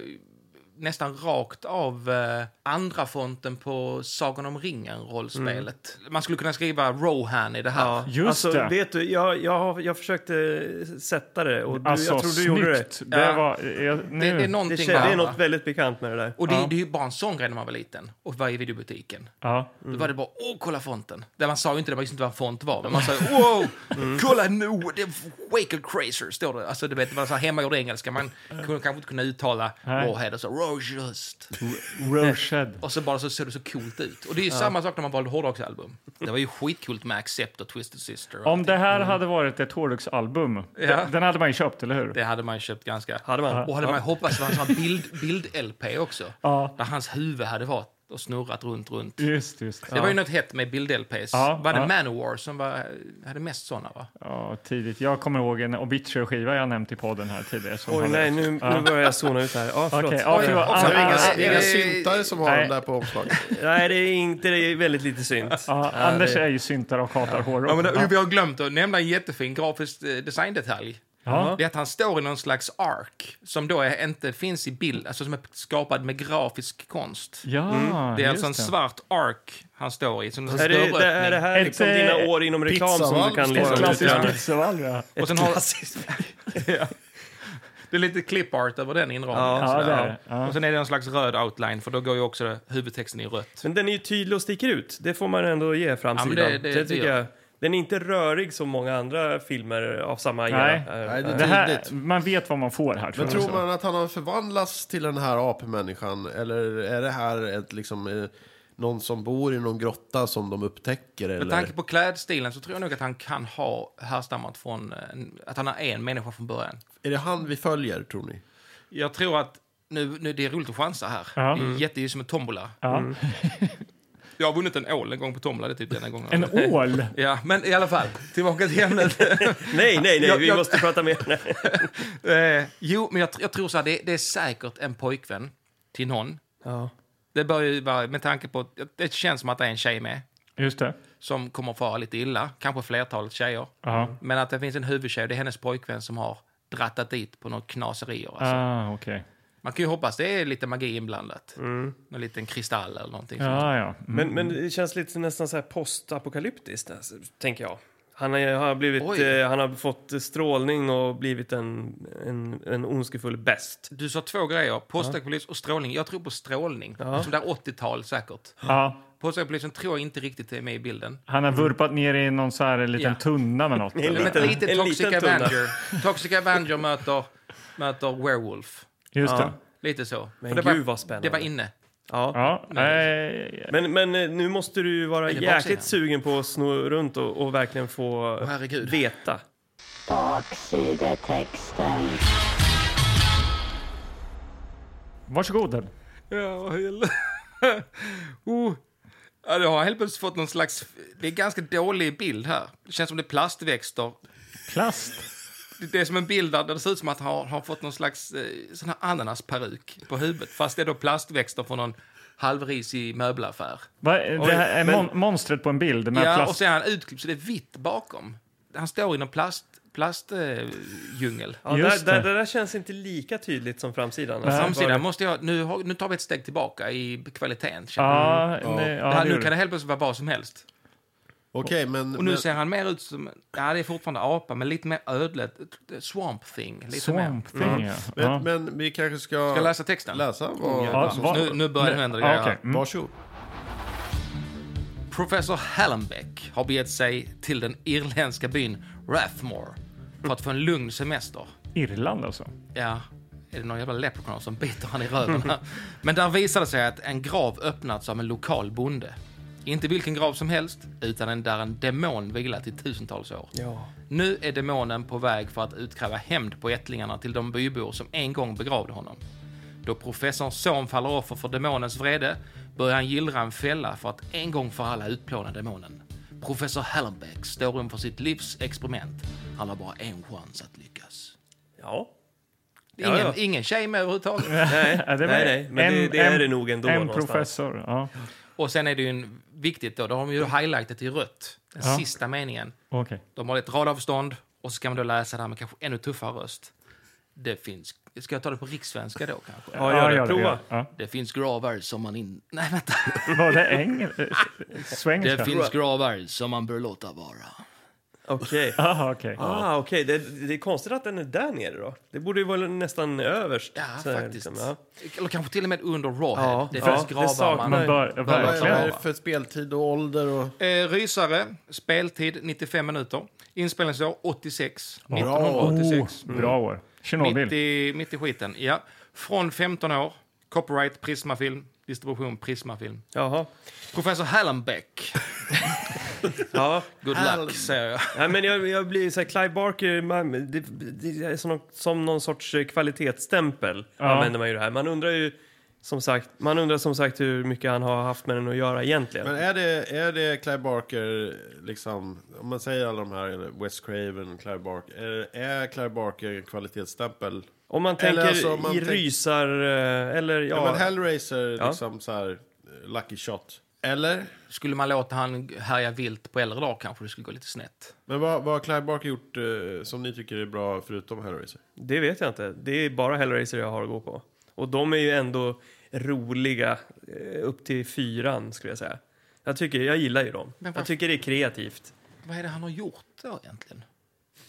nästan rakt av eh, andra fonten på Sagan om ringen-rollspelet. Mm. Man skulle kunna skriva Rohan i det här. Just alltså, det. Vet du, jag, jag, har- jag försökte sätta det och du, Alltså, jag tror du snyggt. gjorde det. det. Ja. var, jag, Det, nu, det är Mm. Det, någonting känns, det där, är va? något väldigt bekant med det där. Och det, det är ju bara en sån grej när man var liten och var i videobutiken. ja. Mm. Då var det bara, åh, kolla fonten. Där man sa ju inte, det, man visste inte vad en font var, men man sa, *laughs* wow, Mm. kolla nu, det är Wake of Crazer, står det. Alltså, du vet, det var så här hemmagjord engelska, man kunde kanske inte kunna uttala Nej. Warhead och så, Rogest. Mm. Roshed. Och så bara så såg det så coolt ut. Och det är ju samma sak när man valde hårdrocksalbum. Det var ju skitcoolt med Accept och Twisted Sister. Och Om det här hade varit ett hårdrocksalbum, Ja. den hade man ju köpt, eller hur? Det hade man ju köpt ganska. Hade man? Och hade man ju hoppats på en sån här bild- bild-LP också. Ja. Där hans huvud hade varit och snurrat runt, runt. Just, just. Det var ju något hett med bild-LPs. Ja, var det ja. Manowar som var, hade mest sådana va? Ja, tidigt. Jag kommer ihåg en Obituary-skiva jag nämnt i podden här tidigare. Som Oj, hade- nej, nu, nu börjar jag zona ut här. Ja, förlåt. Okej, ja, förlåt. Oj, Så det är Ah, inga, ah, det är eh, inga syntare som har nej. dem där på omslaget. Nej, det är inte. Det är väldigt lite synt. Ja, Anders är ju syntare och hatar hårrock. Ja, men det, Vi har glömt att nämna en jättefin grafisk eh, designdetalj. Ja. Det är att han står i någon slags ark som då är, inte finns i bild, alltså som är skapad med grafisk konst. Ja, Det är just alltså en svart ark han står i. Som en Är det, det, är det dörröppning. här Ett, liksom eh, dina år inom reklam som du pizzavall kan står liksom det. utgöra? Klassisk pizzavall, ja. Och sen har, *laughs* det är lite clip-art över den inramningen. Ja, sådär. det är det. Ja. Och sen är det någon slags röd outline, för då går ju också huvudtexten i rött. Men den är ju tydlig och sticker ut. Det får man ändå ge framsidan. Ja, men det- det- det tycker gör- jag. Den är inte rörig som många andra filmer av samma Nej. era. Eh, Nej, det Det är här, tydligt. man vet vad man får här. Men jag. tror man att han har förvandlats till den här apmänniskan? Eller är det här ett, liksom, eh, någon som bor i någon grotta som de upptäcker? Med Eller? tanke på klädstilen så tror jag nog att han kan ha härstammat från... eh, en- Att han är en människa från början. Är det han vi följer, tror ni? Jag tror att... Nu, nu, det är roligt att chansa här. Ja. Det Mm. är jätte, det är som en tombola. Ja. Jag har vunnit en ål en gång på tombola, det är typ den enda gången. En *laughs* ål? Ja, men i alla fall. Tillbaka till ämnet. Nej, nej, nej, Jag- vi jag- måste prata mer. eh, jo, men jag, tr- jag tror så här, det, det är säkert en pojkvän till någon. Ja. Det bör ju vara, med tanke på... Det känns som att det är en tjej med. Just det. Som kommer att fara lite illa. Kanske flertalet tjejer. Ja. Men att det finns en huvudtjej, det är hennes pojkvän som har drattat dit på några knaserier. Alltså. Ah, okej. Man kan ju hoppas det är lite magi inblandat. Någon liten kristall eller någonting. sånt. Ja, ja. Mm. Men, men det känns lite nästan så här postapokalyptiskt, alltså, tänker jag. Han är, har, blivit, Oj. eh, han har fått strålning och blivit en, en, en ondskefull best. Du sa två grejer, postapokalyps och strålning. Jag tror på strålning, som där 80-tal säkert. Ja, Postapokalypsen tror jag inte riktigt är med i bilden. han har vurpat ner i någon så här liten Mm. Ja. tunna med något. Men *laughs* eller? lite, liten- en Toxic liten tunna. Avenger. Toxic Avenger möter, möter Werewolf. Just Ja. det. Lite så. Men För det gud, var, vad spännande. det var inne. Ja. Ja, nej. Men, men eh, nu måste du ju vara Eller jäkligt baksidan. sugen på att sno runt och, och verkligen få Åh, herregud. veta. Baksidetexten. Varsågod. Ja, vad hel... *laughs* oh. ja, du har helt plötsligt fått någon slags... Det är ganska dålig bild här. Det känns som det är plastväxter. Plast. Det det är som en bild där det ser ut som att han har, har fått någon slags eh, sån här ananasperuk på huvudet. Fast det är då plastväxter från någon halvrisig möbelaffär. Va? Det här är men- mon monstret på en bild med Ja, och plast. så är han utklippt så det är vitt bakom. Han står i någon plast, plastdjungel. Eh, djungel. Ja, Just där, där, det. det där fänns inte lika tydligt som framsidan. Alltså, Framsidan måste jag... Nu, har, nu tar vi ett steg tillbaka i kvaliteten. känner jag. Ja, nej, ja, Mm. det här, det nu gör kan det. det helt plötsligt vara vad som helst. Okej, men... Och nu men ser han mer ut som... Ja, det är fortfarande apa, men lite mer ödlet. Swamp thing. Lite mer. Mm. Swamp thing, ja. men, Mm. ja. men vi kanske ska, Ska jag läsa texten? läsa vad Ja, vad som va- står. Nu- nu börjar det hända grejer. Ja, okej. Mm. Varsågod. Professor Hallenbeck har begett sig till den irländska byn Rathmore för att få en lugn semester. Irland alltså. Ja, är det någon jävla leprechaun som biter han i röven här? Men där visade det sig att en grav öppnats av en lokal bonde. Inte vilken grav som helst, utan en där en demon vilat i tusentals år. Ja. Nu är demonen på väg för att utkräva hämnd på ättlingarna till de bybor som en gång begravde honom. Då professorns son faller offer för demonens vrede börjar han gillra en fälla för att en gång för alla utplåna demonen. Professor Hallenbeck står inför sitt livs experiment. Han har bara en chans att lyckas. ja. Det är ingen, Ja, ja. ingen tjej med överhuvudtaget. Nej, Ja, det var- nej, nej, men det, det är det nog ändå En någonstans. professor, ja. Och sen är det ju en, viktigt då, då har de ju highlightat i rött, den Ja. sista meningen. Okej. De har ett radavstånd Och så ska man då läsa det här med kanske ännu tuffare röst. Det finns... Ska jag ta det på rikssvenska då kanske? Ja, gör det. Prova. Ja. Det finns gravar som man in... Nej, vänta. Var det engel... eh, Svengelska? Det finns gravar som man bör låta vara. *laughs* Okej. *laughs* Jaha, okej. Ah, okej. Det, det är konstigt att den är där nere då. Det borde ju vara nästan överst. Ja, så här, faktiskt. liksom, ja. Eller kanske till och med under Rawhead. Ja, det ja. finns Det gravar man... saknar- Man bör, Vad verkligen. är Ja. verkligen. det för speltid och ålder? Och... Eh, rysare, speltid 95 minuter. Inspelningsår 86. Bra. 1986. Oh, bra år. Tjernobyl. Mitt i, mitt i skiten, ja. Från 15 år. Copyright Prismafilm. Distribution Prismafilm. Jaha. Professor Hallenbeck. Ja. Good Hall- luck, säger jag. Nej, men jag, jag blir så här, Clive Barker, man, det, det är som, som någon sorts eh, kvalitetsstämpel Ja. använder man ju det här. Man undrar ju som sagt, man undrar som sagt hur mycket han har haft med den att göra egentligen. Men är det, är det Clive Barker, liksom, om man säger alla de här, eller Wes Craven, Clive Barker, är, är Clive Barker kvalitetsstämpel? Om man Eller tänker alltså, om man i tänk- rysar eh, eller Ja, ja. men Hellraiser, Ja. liksom så här, eh, lucky shot. Eller? Skulle man låta han härja vilt på äldre dagar kanske det skulle gå lite snett. Men vad, vad har Clive Barker gjort eh, som ni tycker är bra förutom Hellraiser? det vet jag inte. Det är bara Hellraiser jag har att gå på. Och de är ju ändå roliga eh, upp till fyran skulle jag säga. Jag tycker, jag gillar ju dem. Men Jag vad- tycker det är kreativt. Vad är det han har gjort då egentligen?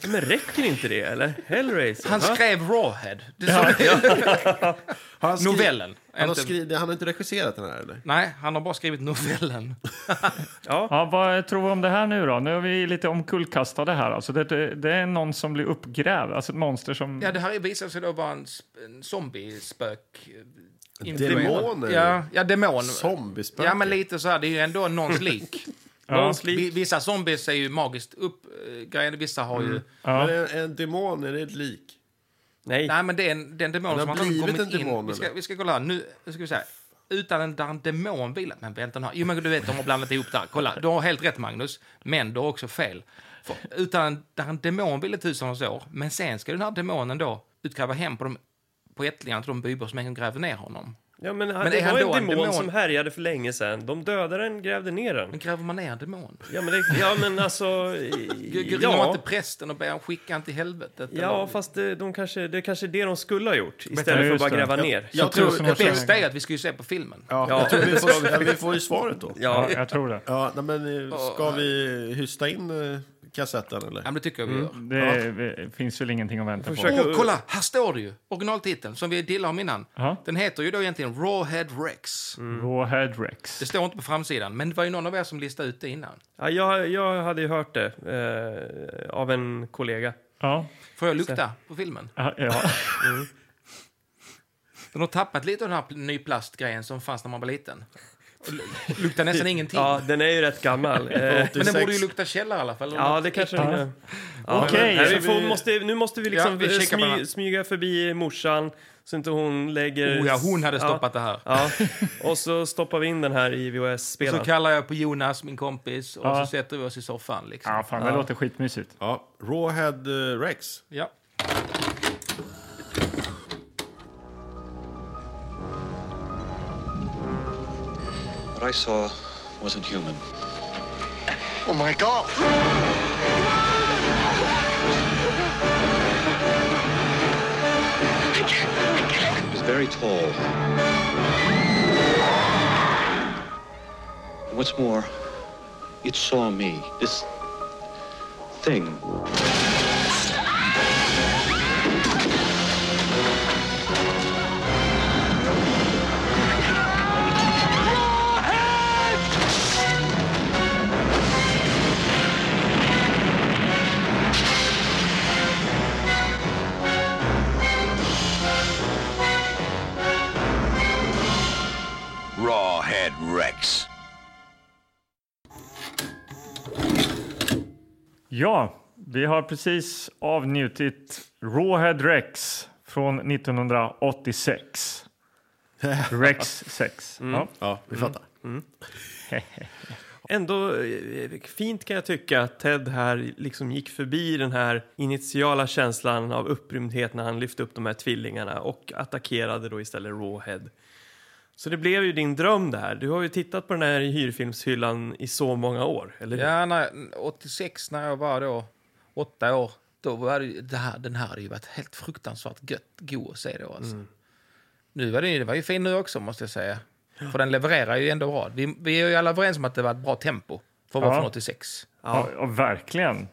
Men räcker inte det eller? Hellraiser? Han va? skrev Rawhead. Det är som- Har han skri- *laughs* Novellen. Han har, Inte- skri- han har inte regisserat den här eller? Nej, han har bara skrivit novellen. ja. Ja, vad tror vi om det här nu då? Nu är vi lite omkullkastade här. Alltså det, det, det är någon som blir uppgrävd, alltså ett monster som... Ja, det här visar sig då vara en, sp- en zombiespök... Demoner? Ja, ja demon. Zombiespöke? Ja, men lite så här. Det är ju ändå någons lik. Någons lik. Vi- Vissa zombies är ju magiskt uppgrejade, vissa har ju... Ja. Men en, en demon, är det ett lik? Nej. Nej, men det är en, det är en demon Den som har har blivit kommit en demon, in. Vi ska, eller? vi ska kolla här. Nu nu ska vi säga. Utan en, där en demon vilar... Men vänta nu. här. Jo, men du vet, de har blandat ihop det här. Kolla, du har helt rätt, Magnus. Men du har också fel. För, utan en- där en demon ville tusenårs år, men sen ska den här demonen då utkräva hem på, de, på ättlingarna till de bybor som en gång grävde ner honom. Ja, men, Men det är han var en då en demon, demon? som härjade för länge sedan. De dödade den, grävde ner den. Men gräver man ner en demon? Ja, men, det, ja, men alltså... G- g- Ringer man ja, inte prästen och ber honom skicka han till helvetet? ja, fast det, de kanske, det är kanske är det de skulle ha gjort Ja, istället för att just bara det. gräva Ja. ner. Jag tror... tusen Det år sedan. bästa är att vi ska ju se på filmen. Ja, Ja. jag tror vi, får, ja, vi får ju svaret då. Ja, Ja, jag tror det. Ja, nej, men eh, ska vi hysta in eh, kassetten eller? Ja, men det tycker jag vi gör. Det eh, finns väl ingenting att vänta på. Försök- Åh, kolla! Här står det ju. Originaltiteln, som vi dillade om innan. Ja. Den heter ju då egentligen Rawhead Rex. Rawhead Rex. Det står inte på framsidan, men det var ju någon av er som listade ut det innan. ja, jag, jag hade ju hört det eh, av en kollega. Ja. Får jag lukta på filmen? Ja, ja. Den har tappat lite av den här pl- nyplastgrejen som fanns när man var liten. Och lu- Luktar nästan ingenting. *laughs* Ja, den är ju rätt gammal. Eh, Men den borde ju lukta källare i alla fall. ja, det kanske den är. Ja, Okej. men- nej, vi får, måste, nu måste vi liksom Ja, vi kikar på den här. smy, smyga förbi morsan så inte hon lägger... Oh ja, hon hade Ja. stoppat det här. Ja, och så stoppar vi in den här i Så VHS-spelaren. kallar jag på Jonas, min kompis, och Ja. så sätter vi oss i soffan. Liksom. ja, fan det låter skitmysigt. Ja, Rawhead eh, Rex. Ja. What I saw wasn't human. Oh my god! It was very tall. And what's more, it saw me. This thing. Rawhead Rex. Ja, vi har precis avnjutit Rawhead Rex från *laughs* 1986. Rex 6. Ja. Ja, vi fattar. Ändå eh, fint kan jag tycka att Ted här liksom gick förbi den här initiala känslan av upprymdhet när han lyfte upp de här tvillingarna och attackerade då istället Rawhead. Så det blev ju din dröm det här. Du har ju tittat på den här hyrfilmshyllan i så många år, eller hur? Ja, när, 86 när jag var då åtta år då hade ju, det här, den här hade ju varit helt fruktansvärt gött, god att se då. Alltså. Mm. Nu var den, ju- den var ju fin nu också, måste jag säga. För den levererar ju ändå bra. Vi, vi är ju alla överens om att det var ett bra tempo för att vara Ja. från 86. Ja. Ja, verkligen.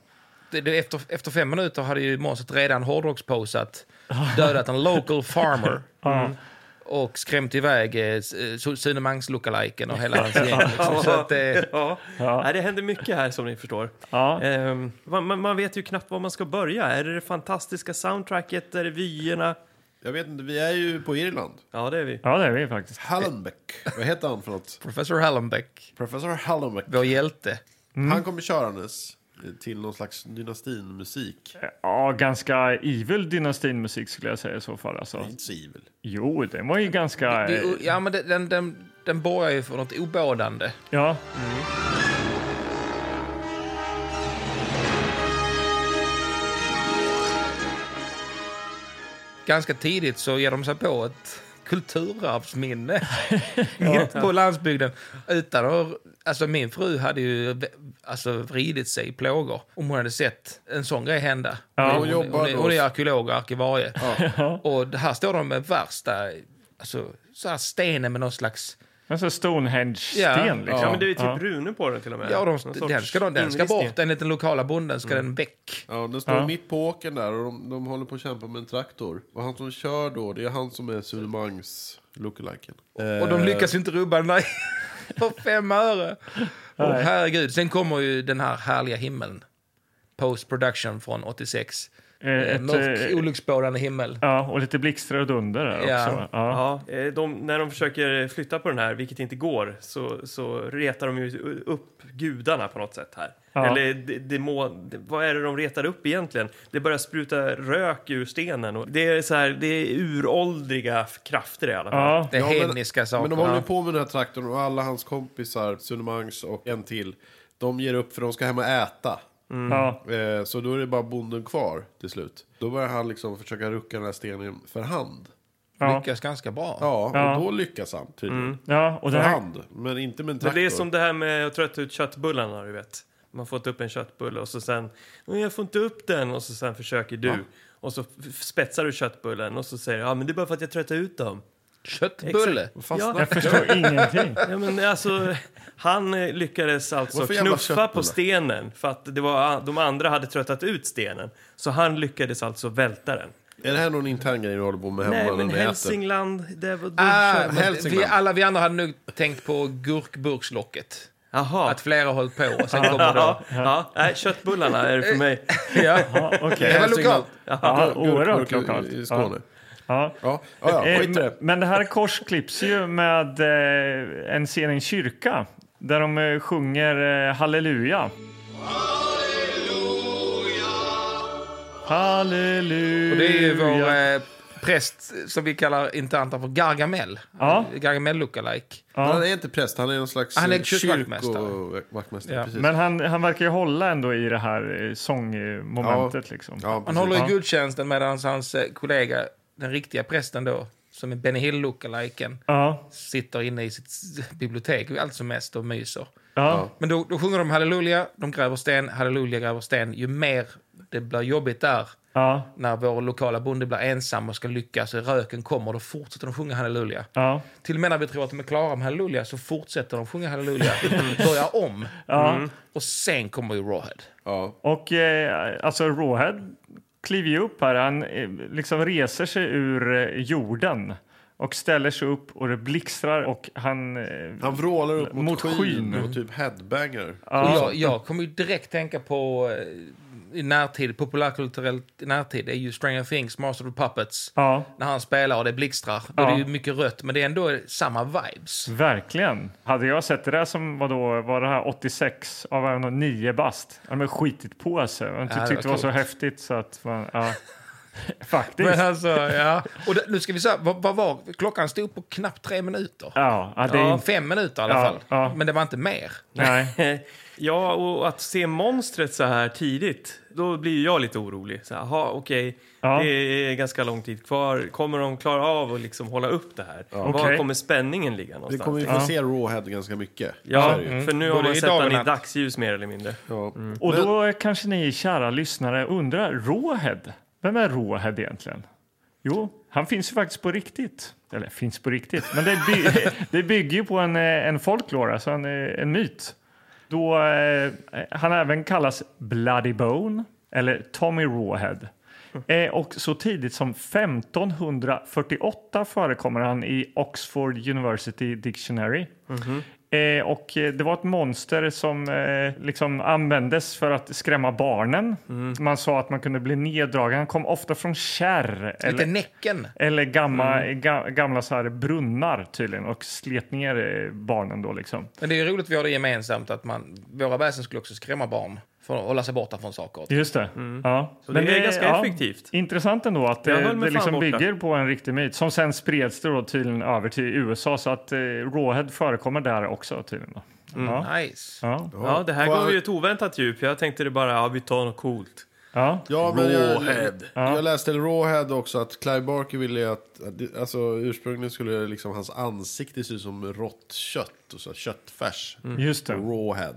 Det, det, efter, efter fem minuter hade ju monstret redan *laughs* hårdrocksposat, dödat en local farmer Mm. Ja. och skrämt iväg eh, S- eh, Su- Sune Mangs-lookaliken och hela *laughs* hans gäng. Liksom. Så att, eh, Ja. Ja. Nej, det händer mycket här som ni förstår. Ja. Ehm, man, man- man vet ju knappt var man ska börja. Är det det fantastiska soundtracket? Är det vyerna? Jag vet inte, vi är ju på Irland. Ja, det är vi. ja, det är vi faktiskt. Hallenbeck. Vad heter han för något? Professor Hallenbeck, Professor Hallenbeck. vår hjälte. Mm. Han kommer körandes eh, till någon slags dynastinmusik. Ja, ganska evil dynastinmusik skulle jag säga i så fall. Alltså. Det är Inte så evil. Jo, den var ju ganska... eh, Det, är- ja, men det- den, den, den borgar ju för något obådande. Ja, Ganska tidigt så ger de sig på ett kulturarvsminne på landsbygden. Utan att, alltså min fru hade ju vä- alltså, vridit sig i plågor om hon hade sett en sån grej hända. Ja, hon, hon hon, jobbar hon, är- då. hon är arkeolog och arkivarie. Och det här står de med värsta alltså, så här stenen med någon slags... en sån Stonehenge-sten. Ja. liksom. Ja, men det är ju typ Ja. runor på den till och med. Ja, de, Någon sorts den, ska, de, den ska inristning. bort, enligt den lokala bonden ska den väck. Ja, den står Ja. mitt på åkern där och de, de håller på att kämpa med en traktor. Och han som kör då, det är han som är Eh, Sulemangs lookaliken. Och de lyckas ju inte rubba den där *laughs* för fem öre. Och Nej. herregud, sen kommer ju den här härliga himlen. Post production från 86. Eh, ett, Ett, Mörk, eh, olycksbådande himmel. Ja, och lite blixtar och dunder där Ja. också. Ja. Ja, eh, de, när de försöker flytta på den här, vilket inte går, så, så retar de ju upp gudarna på något sätt här. Ja. Eller de, demon, de- vad är det de retar upp egentligen? Det börjar spruta rök ur stenen. Och det, är så här, det är uråldriga krafter i alla fall. Ja. Det men- hedniska Men de sakerna. håller ju på med den här traktorn och alla hans kompisar, Sulemangs och en till, de ger upp för de ska hem och äta. Ja. Eh, så då är det bara bonden kvar till slut. Då börjar han liksom försöka rucka den här stenen för hand. Ja. Lyckas ganska bra. Ja, och Ja. då lyckas han tydligen. ja, och För den här, hand, men inte med en Men traktor. det är som det här med att trötta ut köttbullarna, du vet. Man får inte upp en köttbulle och så sen, "Nej, jag får inte upp den och så sen försöker du. Och så f- spetsar du köttbullen och så säger du, ja men det är bara för att jag tröttar ut dem. Köttbulle. Fastnar. Ja. jag förstår ingenting. *laughs* Ja, men alltså, han eh, lyckades alltså Varför jävla knuffa köttbullar? på stenen för att det var, ah, de andra hade tröttat ut stenen. Så han lyckades alltså välta den. Är det här någon intern grej du håller på med hemma Nej, när men ni äter? Hälsingland, det var... Ah, men men Hälsingland. vi, alla vi andra hade nog tänkt på gurkburkslocket. Jaha. Att flera har hållit på och sen kommer då... Ja, ja, nej, köttbullarna är det Eh, för mig. Ja. Ja, Det okej. var lokalt. Ja, Gurk- oerhört gurk- lokalt. I Ja. Skåne. Ja. Ja, ja, ja Eh, skit i det. Men det här korsklipps ju med eh, en scen i en kyrka där de eh, sjunger eh, halleluja. Halleluja. Och det är ju vår eh, präst som vi kallar internt för Gargamel. Ja. Gargamel lookalike. Men Han är inte präst, han är någon slags Han är eh, kyrkvaktmästare. kyrkovaktmästare. Ja. precis. Men han, han verkar ju hålla ändå i det här eh, sångmomentet. Liksom. ja, Han precis. håller Ja. i gudstjänsten medan hans eh, kollega, den riktiga prästen då, som är Benny Hill lookaliken, Ja, sitter inne i sitt s- bibliotek allt som mest och myser. ja, Men då, då sjunger de halleluja, de gräver sten, halleluja gräver sten. Ju mer det blir jobbigt där, ja, när vår lokala bonde blir ensam och ska lyckas, och röken kommer, då fortsätter de sjunga halleluja. ja. Till och med när vi tror att de är klara med halleluja så fortsätter de sjunga halleluja, börjar om. Och sen kommer ju Rawhead. Ja. Och eh, alltså Rawhead kliver ju upp här. Han eh, liksom reser sig ur eh, jorden och ställer sig upp och det blixtrar och han... Eh, Han vrålar upp mot, Mot skyn, skyn. och typ headbanger. Och ja, jag, jag kommer ju direkt tänka på eh, i närtid, populärkulturellt i närtid, är ju Stranger Things, Master of Puppets. ja, När han spelar och det blixtrar. Då är Ja. Mm. det ju mycket rött, men det är ändå samma vibes. verkligen. Hade jag sett det där som var då, var det här 86 av en och nio bast, hade man skitit på sig. Man det tyckte var det var så coolt. *laughs* häftigt så att man... Ja. *laughs* Faktiskt. Men alltså, ja. Och det, nu ska vi säga, vad, vad var, klockan stod på knappt tre minuter. Ja, ja, det är Ja, inte... fem minuter i alla Ja, fall. ja. Men det var inte mer. *laughs* Nej. *laughs* Ja, och att se monstret så här tidigt, då blir ju jag lite orolig. Så här, Jaha, okej, Ja. det är ganska lång tid kvar. Kommer de klara av att liksom hålla upp det här? Var Okej. kommer spänningen ligga Vi någonstans? kommer ju få se Rawhead ganska mycket. Så Ja, är det ju. för nu har Både man i sett dag och den i natt. dagsljus mer eller mindre. Ja. Och då kanske ni kära lyssnare undrar, Rawhead, vem är Rawhead egentligen? Jo, han finns ju faktiskt på riktigt. Eller finns på riktigt, men det, by *laughs* det bygger ju på en, eh, en folklore, alltså en, eh, en myt. Då, eh, han även kallas Bloody Bone eller Tommy Rawhead. Eh, och så tidigt som 1548 förekommer han i Oxford University Dictionary. Eh, och eh, det var ett monster som eh, liksom användes för att skrämma barnen. Man sa att man kunde bli neddragen. Han kom ofta från kärr Lite eller, Näcken. eller gamla, Mm. ga, gamla så här brunnar tydligen och slet ner eh, barnen då liksom. Men det är ju roligt att vi har det gemensamt att man, våra väsen skulle också skrämma barn för att hålla sig borta från saker. och ting. Just det. Ja. Så det är ganska effektivt. Intressant ändå att Jag det, höll mig det fan liksom borta. bygger på en riktig myt som sen spreds det då tydligen över till USA så att eh, Rawhead förekommer där också tydligen. Då. Ja. Nice. Ja. Ja, det här Kvar- gav ju ett oväntat djup. Jag tänkte det bara, ja, vi tar något coolt. Ja. Ja, men Rawhead. jag, jag läste Rawhead också att Clive Barker ville ju att, att- alltså ursprungligen skulle liksom hans ansikte se ut som rått kött, och så här köttfärs. Mm. Just det. Mm. Rawhead.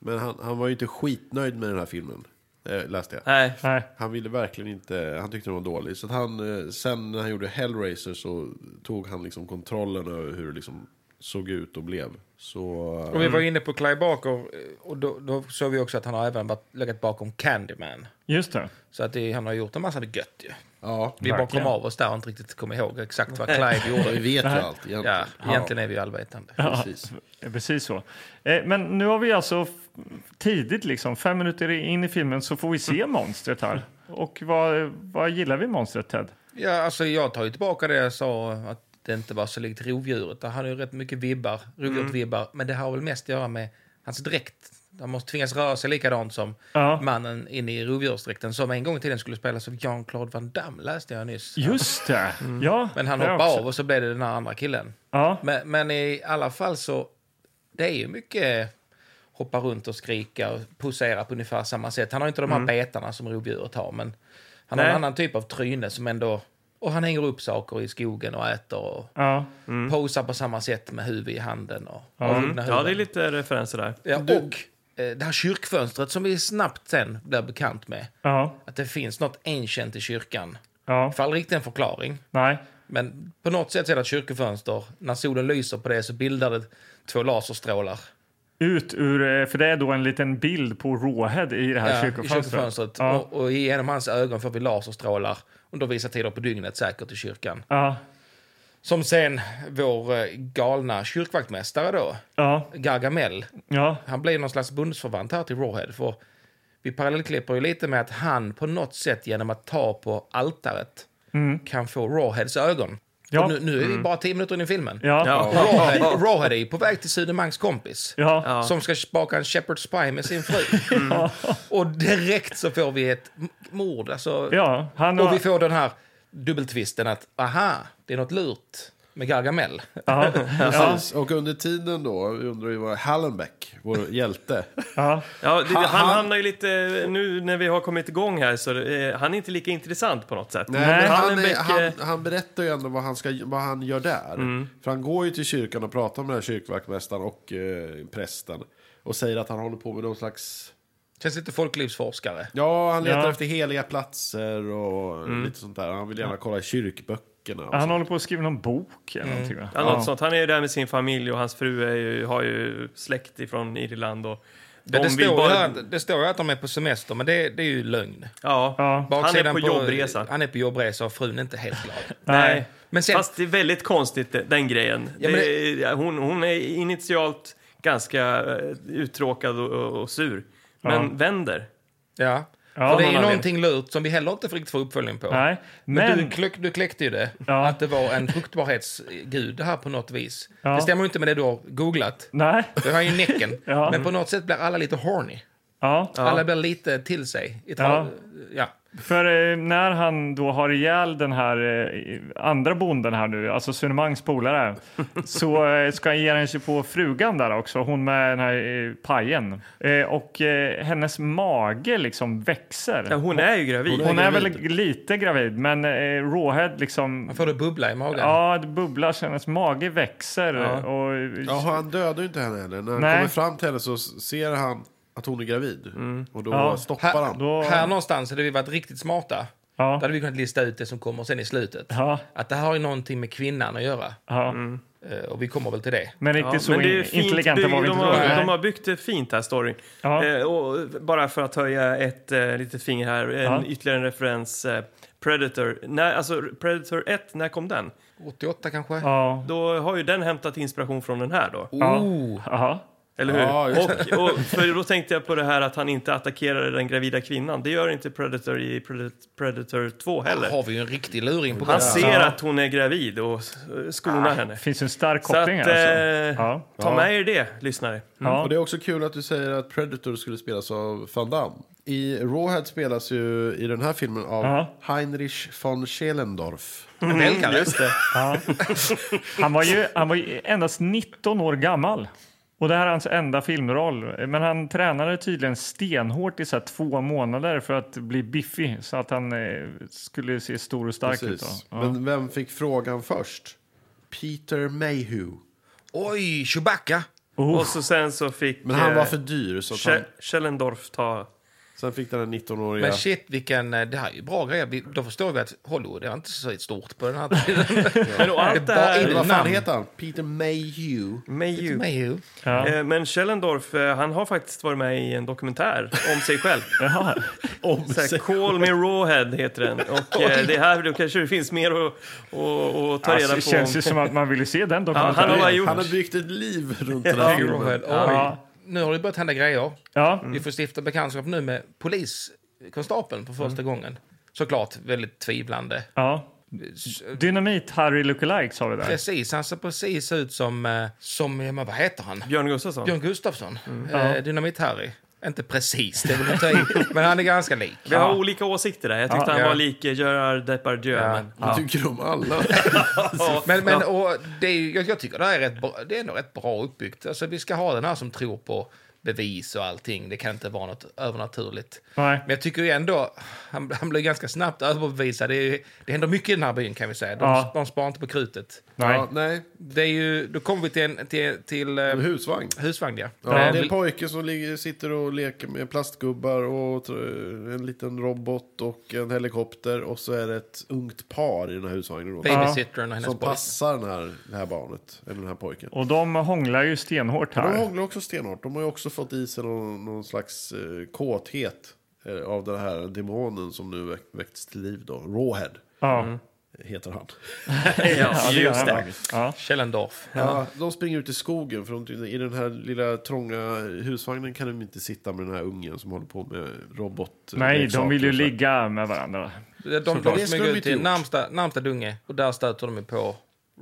Men han, han var ju inte skitnöjd med den här filmen, eh, läste jag. Nej, Nej. Han ville verkligen inte, han tyckte den var dålig. Så att han, eh, sen när han gjorde Hellraiser så tog han liksom kontrollen över hur det liksom såg ut och blev. Så... eh, Och vi var Mm. inne på Clive Barker eh, och då, då såg vi också att han har även varit, legat bakom Candyman. Just det. Så att det, han har gjort en massa gött ju. Ja, Vi bara kom Verkligen. av oss där och inte riktigt kom ihåg exakt vad Clive gjorde. vi vet ju allt egentligen. Ja, egentligen är vi ju allvetande. Precis. Eh, Precis så. Eh, Men nu har vi alltså f- tidigt, liksom, fem minuter in i filmen, så får vi *laughs* se monstret här. Och vad, vad gillar vi monstret, Ted? Ja, alltså jag tar ju tillbaka det jag sa att det inte var så likt rovdjuret. Han har ju rätt mycket vibbar, rovdjursvibbar. Mm. Men det har väl mest att göra med hans dräkt. Han måste tvingas röra sig likadant som Ja. mannen in i rovdjursdräkten som en gång i tiden skulle spelas av Jean-Claude Van Damme, läste jag nyss. Just det! Ja, Men han det hoppade också. av och så blev det den här andra killen. Ja. Men, men i alla fall så, det är ju mycket hoppa runt och skrika och posera på ungefär samma sätt. Han har ju inte de här betarna som rovdjuret har, men han har Mm. Nej. en annan typ av tryne som ändå... Och han hänger upp saker i skogen och äter och Ja. posar på samma sätt med huvud i handen och avhuggna Mm. ja, det är huvuden. lite referenser där. Ja, och eh, det här kyrkfönstret som vi snabbt sen blir bekant med. Ja. Att det finns något ancient i kyrkan. Ja. För aldrig riktigt en förklaring. Nej. Men på något sätt så är det ett kyrkofönster. När solen lyser på det så bildar det två laserstrålar. Ut ur, eh, för det är då en liten bild på Råhed i det här Ja, I kyrkofönstret. kyrkofönstret. Ja. Och, och genom hans ögon får vi laserstrålar under vissa tider på dygnet säkert i kyrkan. Ja. Som sen vår eh, galna kyrkvaktmästare då, Ja. Gargamel, Ja. han blir någon slags bundsförvant här till Rawhead. För vi parallellklipper ju lite med att han på något sätt genom att ta på altaret kan få Rawheads ögon. Mm. Ja. Mm. Och nu, nu är vi bara tio minuter in i filmen. Ja. Ja. Ja. Rawhead, Rawhead är ju på väg till Sudemangs kompis. Ja. Mm. Ja. Som ska baka en shepherd's pie med sin *laughs* fru. Och direkt så får vi ett m- mord. Alltså, Han Och har, vi får den här dubbeltvisten att aha, det är något lurt med Gargamel. ja. Ja. Precis. Och under tiden då, vi undrar ju vad Hallenbeck, vår hjälte. Ja. Ja, det, Han- han han- hamnar ju lite, nu när vi har kommit igång här så eh, han är inte lika intressant på något *laughs* sätt. Nej, men han, är, Hallenbeck, eh, han, han berättar ju ändå vad han, ska, vad han gör där. För han går ju till kyrkan och pratar med den här kyrkvaktmästaren och eh, prästen. Och säger att han håller på med någon slags... Känns lite folklivsforskare. Ja, han letar Ja. efter heliga platser och lite sånt där. Han vill gärna kolla i kyrkböckerna. och Han sånt. håller på att skriva någon bok eller någonting. va? Ja, något sånt. Han är ju där med sin familj och hans fru är ju, har ju släkt ifrån Irland. Och Det, de det, vill står ju här, det står ju att de är på semester, men det, det är ju lögn. Ja, Ja. han är på, jobbresa. Han är på jobbresa och frun är inte helt glad. Nej. Men sen, Fast det är väldigt konstigt, det- den grejen. Ja, men det... är- hon, hon är initialt ganska eh, uttråkad och, och, och sur, men vänder. ja. Ja, För det är någon ju anledning. någonting lurt som vi heller inte riktigt får uppföljning på. Nej. Men, Men, du, kläck, du kläckte ju det, Ja. att det var en fruktbarhetsgud här på något vis. Ja. Det stämmer ju inte med det du har googlat. nej. Det var ju näcken. *laughs* Ja. Men på något sätt blir alla lite horny. Ja. Alla blir lite till sig. I tra- Ja. ja. För eh, när han då har ihjäl den här eh, andra bonden här nu, alltså Sunemangs *laughs* polare, så eh, ska han ge den sig på frugan där också, hon med den här eh, pajen. Eh, och eh, hennes mage liksom växer. Ja, hon är ju gravid. Hon är väl lite gravid, men eh, Rawhead liksom... Man får det bubbla i magen. Ja, det bubblar så hennes mage växer. Ja. Och, Jaha, han dödar ju inte henne heller. När han Nej. kommer fram till henne så ser han att hon är gravid. Och då Ja. stoppar Här, han. Då- här någonstans hade vi varit riktigt smarta. Då ja, hade vi kunnat lista ut det som kommer sen i slutet. ja, Att det här har ju någonting med kvinnan att göra. ja. Eh, Och vi kommer väl till det. Men Mm. Ja, riktigt så men det är ju in- fint intelligenta bygg- var vi de, inte har, då. Nej. de har byggt det fint här, storyn. Ja. Eh, och bara för att höja ett eh, litet finger här, en, Ja. ytterligare en referens. Eh, Predator. När, alltså, Predator 1, när kom den? 88 kanske? Ja, Då har ju den hämtat inspiration från den här då. ja. Oh. Aha. Eller hur? Ja, just och, och, för då tänkte jag på det här att han inte attackerade den gravida kvinnan. Det gör inte Predator i Predat- Predator 2 Där heller. har vi ju en riktig luring på gång. Han ser att hon är gravid och eh, Ah, skonar henne. Det finns ju en stark Så att, koppling eh, mm. här. Alltså. Ja. ta med er det, lyssnare. Och Ja. det är också kul att du säger att Predator skulle spelas av Van Damme. I Rawhead spelas ju i den här filmen av Ja. Heinrich von Schelendorf. Välkare. Just det. Han, var ju, han var ju endast 19 år gammal. Och Det här är hans enda filmroll. Men han tränade tydligen stenhårt i så här två månader för att bli biffig så att han eh, skulle se stor och stark ut. Precis. Då. Ja. Men vem fick frågan först? Peter Mayhew. Oj, Chewbacca! Oh. Och så sen så fick Men han eh, var för dyr, så att han, Sche- Schellendorf ta... sen fick den här 19-åriga... Men shit, vilken, eh, det här är ju bra grejer. Vi- Då förstår vi att Hollywood det var inte så stort på den här tiden. Men och Det är allt det bara här... in- Vad fan namn. heter han? Peter Mayhew. Mayhew. Mayhew. Ja. Eh, Men Schellendorf, eh, han har faktiskt varit med i en dokumentär om sig själv. *laughs* Jaha. Så här, Call me Rawhead heter den. *laughs* Och eh, det här, då kanske det finns mer att, att, att ta Alltså, reda det på. känns ju som att man ville se den Ja, han har dokumentären. bara gjort... Han har byggt ett liv runt den Ja. här Oj, filmen. nu har det börjat hända grejer. Ja. Mm. Vi får stifta bekantskap nu med poliskonstapeln för första gången. Såklart väldigt tvivlande. Ja. Mm. Dynamit Harry Lookalikes har vi där. Precis, han ser precis ut som, eh, som ja, men vad heter han? Björn Gustafsson. Björn Gustafsson. Eh, Dynamit-Harry. Inte precis, det vill jag ta i, men han är ganska lik. Vi har olika åsikter där. Jag tyckte Ja. han Ja. var lik eh, Gerard Depardieu. Ja. Men, *laughs* Jag tycker om alla. Men, men och det är, ju- jag, jag tycker det här är, rätt bra, det är ändå rätt bra uppbyggt. Alltså, vi ska ha den här som tror på bevis och allting. Det kan inte vara något övernaturligt. Nej. Men jag tycker ju ändå, han, han blir ganska snabbt överbevisad. Det, är, ju- det händer mycket i den här byn kan vi säga. De, Ja. de sparar inte på krutet. Nej. Ja, nej, Det är ju, då kommer vi till, en, till, till eh, en husvagn. husvagn, ja. Ja, det är en pojke som ligger, sitter och leker med plastgubbar och tr- en liten robot och en helikopter. Och så är det ett ungt par i den här husvagnen då, Babysittern och hennes som boy. passar den här, det här barnet, eller den här pojken. Och de hånglar ju stenhårt De här. hånglar också stenhårt. De har ju också fått i sig någon, någon slags eh, kåthet eh, av den här demonen som nu väck, väckts till liv då. Rawhead Ja. heter han. Mm. ja, gör just han det. faktiskt. Ja. Källendorf. Ja, de springer ut i skogen för de, i den här lilla trånga husvagnen kan de inte sitta med den här ungen som håller på med robot. Nej, de leksaker vill ju och så här. ligga med varandra. De, de, Såklart. de Det skulle smyger de ut inte till gjort. närmsta, närmsta dunge och där stöter de ju på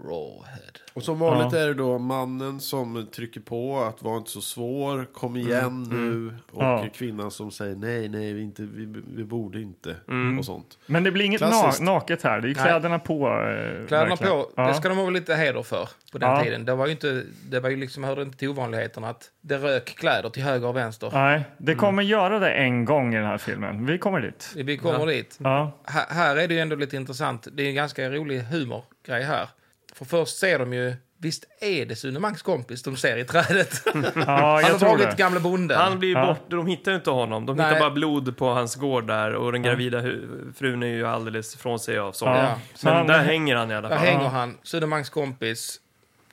Rawhead. Och som vanligt är det då mannen som trycker på att vara inte så svår, kom igen nu. Och Mm, Ja. kvinnan som säger nej, nej, vi, inte, vi, vi borde inte. Mm. Och sånt. Men det blir inget na Klassiskt. naket här. Det är ju kläderna på. eh, Kläderna verkligen. på, Ja. det ska de ha lite heder för på den Ja. tiden. Det var ju inte, det var ju liksom, hörde inte till ovanligheterna att det rök kläder till höger och vänster. Nej, det Mm. kommer göra det en gång i den här filmen. Vi kommer dit. Vi kommer dit. Ja, Här, här är det ju ändå lite intressant. Det är en ganska rolig humorgrej här. För först ser de ju, visst är det Sunemangs kompis de ser i trädet? ja Han har jag tror dragit det. gamle bonden. Han blir ju Ja. bort, de hittar ju inte honom. De Nej. hittar bara blod på hans gård där och den gravida hu- frun är ju alldeles ifrån sig av sorg. Ja. Men Men- där hänger han i alla Där fall. hänger han, Södermalms kompis,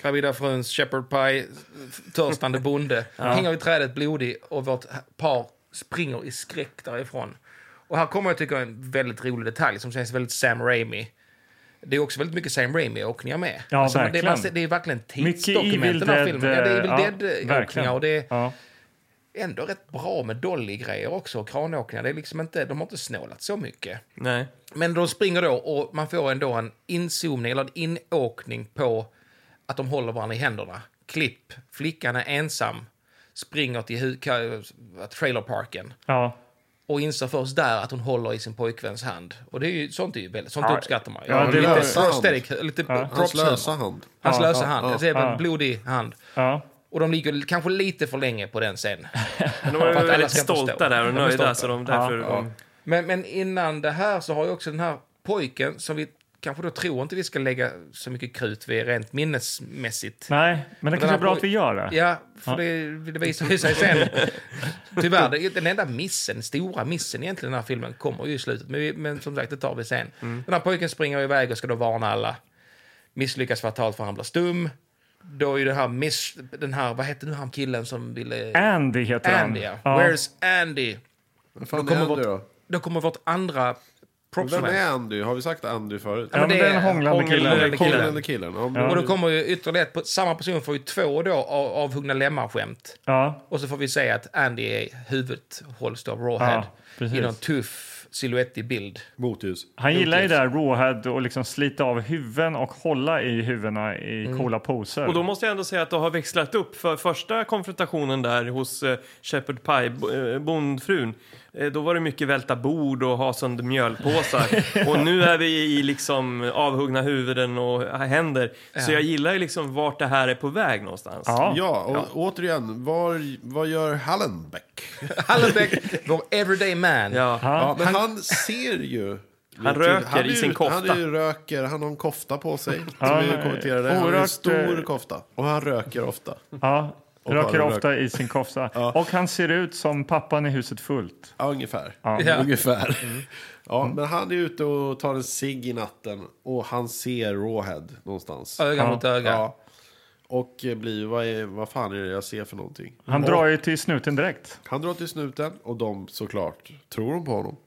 gravida fruns shepherd pie, törstande *laughs* bonde. Hänger vid trädet blodig och vårt par springer i skräck därifrån. Och här kommer jag tycka en väldigt rolig detalj som känns väldigt Sam Raimi. Det är också väldigt mycket Sam Raimi-åkningar med. Ja, man- det, är, man, ser- verkligen. det är verkligen Mycket tidsdokument Evil i den här Dead. filmen. Ja, det är eh, Evil Dead-åkningar verkligen. och det är Ja. ändå rätt bra med Dolly-grejer också och kranåkningar. Det är liksom inte, de har inte snålat så mycket. Nej. Men de springer då och man får ändå en inzoomning eller en inåkning på att de håller varandra i händerna. Klipp. Flickan är ensam, springer till hu- ka- trailerparken. Ja. och inser först där att hon håller i sin pojkväns hand. Och det är ju, sånt är ju väldigt, sånt Ja. uppskattar man ju. Ja, det lite var- prosthetic, lite Hans props lösa hand. Hans Ja, lösa ja, hand. ja. alltså, det är Ja. en blodig hand. Ja. Och de ligger kanske lite för länge på den sen. Men de var ju För att alla väldigt ska förstå. stolta där och De är nöjda, stolta. så de därför... de- Men, men innan det här så har ju också den här pojken, som vi kanske då tror inte vi ska lägga så mycket krut vid rent minnesmässigt. Nej, den men det kanske här är bra poj- att vi gör det. Ja, för Det, det visar ju sig sen. Tyvärr, det, är ju den enda missen, stora missen egentligen i den här filmen kommer ju i slutet. Men, vi, men som sagt, det tar vi sen. Den här pojken springer iväg och ska då varna alla. Misslyckas fatalt för han blir stum. Då är ju den här, miss, den här vad hette nu han killen som ville... Andy heter han. Andy, ja. Where's Andy? Vad fan kommer är Andy bort- då? Då kommer vårt andra Vem propsman. är Andy? Har vi sagt Andy förut? Ja, men det är en hånglande hånglande kille. killen. Killen. killen. Ja, men- Och då kommer ju ytterligare ett, samma person får ju två då av, avhuggna lemmar-skämt. Ja. Och så får vi säga att Andy är huvudet hålls av Rawhead. Ja, precis. I någon tuff, siluettig bild. Motljus. Han gillar ju det här rawhead och liksom slita av huvuden och hålla i huvudena i Mm. coola poser. Och då måste jag ändå säga att det har växlat upp. För första konfrontationen där hos eh, Shepherd Pie, bo- eh, bondfrun, eh, då var det mycket välta bord och ha sönder mjölpåsar. och nu är vi i liksom avhuggna huvuden och händer. Så jag gillar ju liksom vart det här är på väg någonstans. ja. Ja, och återigen, var, vad gör Hallenbeck? Hallenbeck, *laughs* vår everyday man. Ja. Ja, men han ser ju... Han röker Han är i ju- sin kofta. Han är ju röker, han har en kofta på sig. Ja, Som vi men- kommenterade. Han har en oerhört, stor eh, kofta. Och han röker ofta. ja. Och Röker bara rök. ofta i sin kofta. Och han ser ut som pappan i huset fullt. Ja, ungefär. Ja. *laughs* Ungefär. Ja, men han är ute och tar en cigg i natten. Och han ser Rawhead någonstans. Öga mot öga. Ja. Och eh, blir, vad, är, vad fan är det jag ser för någonting? Han drar ju till snuten direkt. Han drar till snuten och de såklart tror de på honom.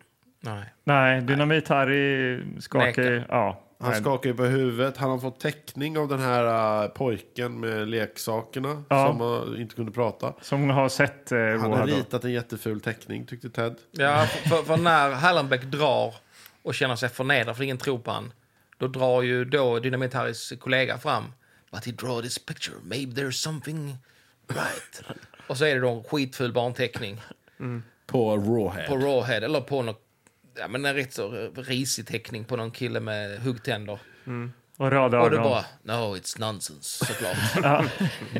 Nej. Nej, Dynamit-Harry skakar ju- Nekar. Ja. Han Nej. skakar ju på huvudet. Han har fått täckning av den här eh, pojken med leksakerna Ja. som eh, inte kunde prata. Som har sett eh, Han har Rawhead. då. ritat en jätteful teckning tyckte Ted. Ja, för, för, för när Hallenbeck drar och känner sig förnedrad för ingen tror på han, då drar ju då Dynamit-Harrys kollega fram. But he draw this picture, maybe there's something right. och så är det då en skitful barnteckning På *laughs* Rawhead. på Rawhead, eller på något, ja men en rätt så risig teckning på någon kille med huggtänder. Och röda Och det ögon. bara, no it's nonsense såklart.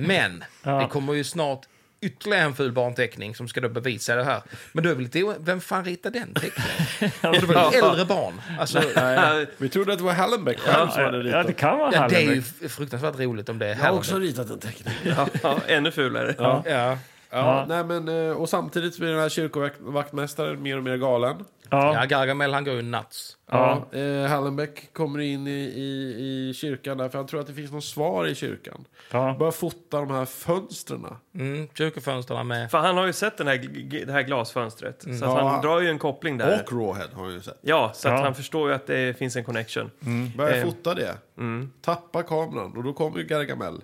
Men det kommer ju snart ytterligare en ful barnteckning som ska då bevisa det här. Men då är det lite, vem fan ritar den teckningen? Och det var ju äldre barn. Alltså, Nej. Vi trodde att det var Hallenbeck själv som hade Ja, det ritat. kan vara ja, det är ju Hallenbeck. f- fruktansvärt roligt om det är Jag har Hallenbeck. också ritat en teckning. Ja, *laughs* ja, ännu fulare. Ja. Ja, Nej, men, eh, och samtidigt blir den här kyrkovaktmästaren mer och mer galen. ja, Ja. Gargamel han går ju nuts. Ja. Eh, Hallenbeck kommer in i, i, i kyrkan där, för han tror att det finns något svar i kyrkan. Ja. Börjar fota de här fönstren. Mm, kyrkofönstren med. För han har ju sett den här, g- det här glasfönstret. Så att Ja. han drar ju en koppling där. Och Rawhead har han ju sett. Ja, så att Ja. han förstår ju att det finns en connection. Eh, Börjar fota det. mm. Tappar kameran och då kommer ju Gargamel.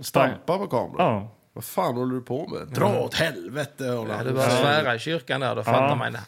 Stark. Stampa på kameran. Ja. Vad fan håller du på med? Dra åt helvete! håller han Mm. Det var på att säga. svära i kyrkan där, då fattar man.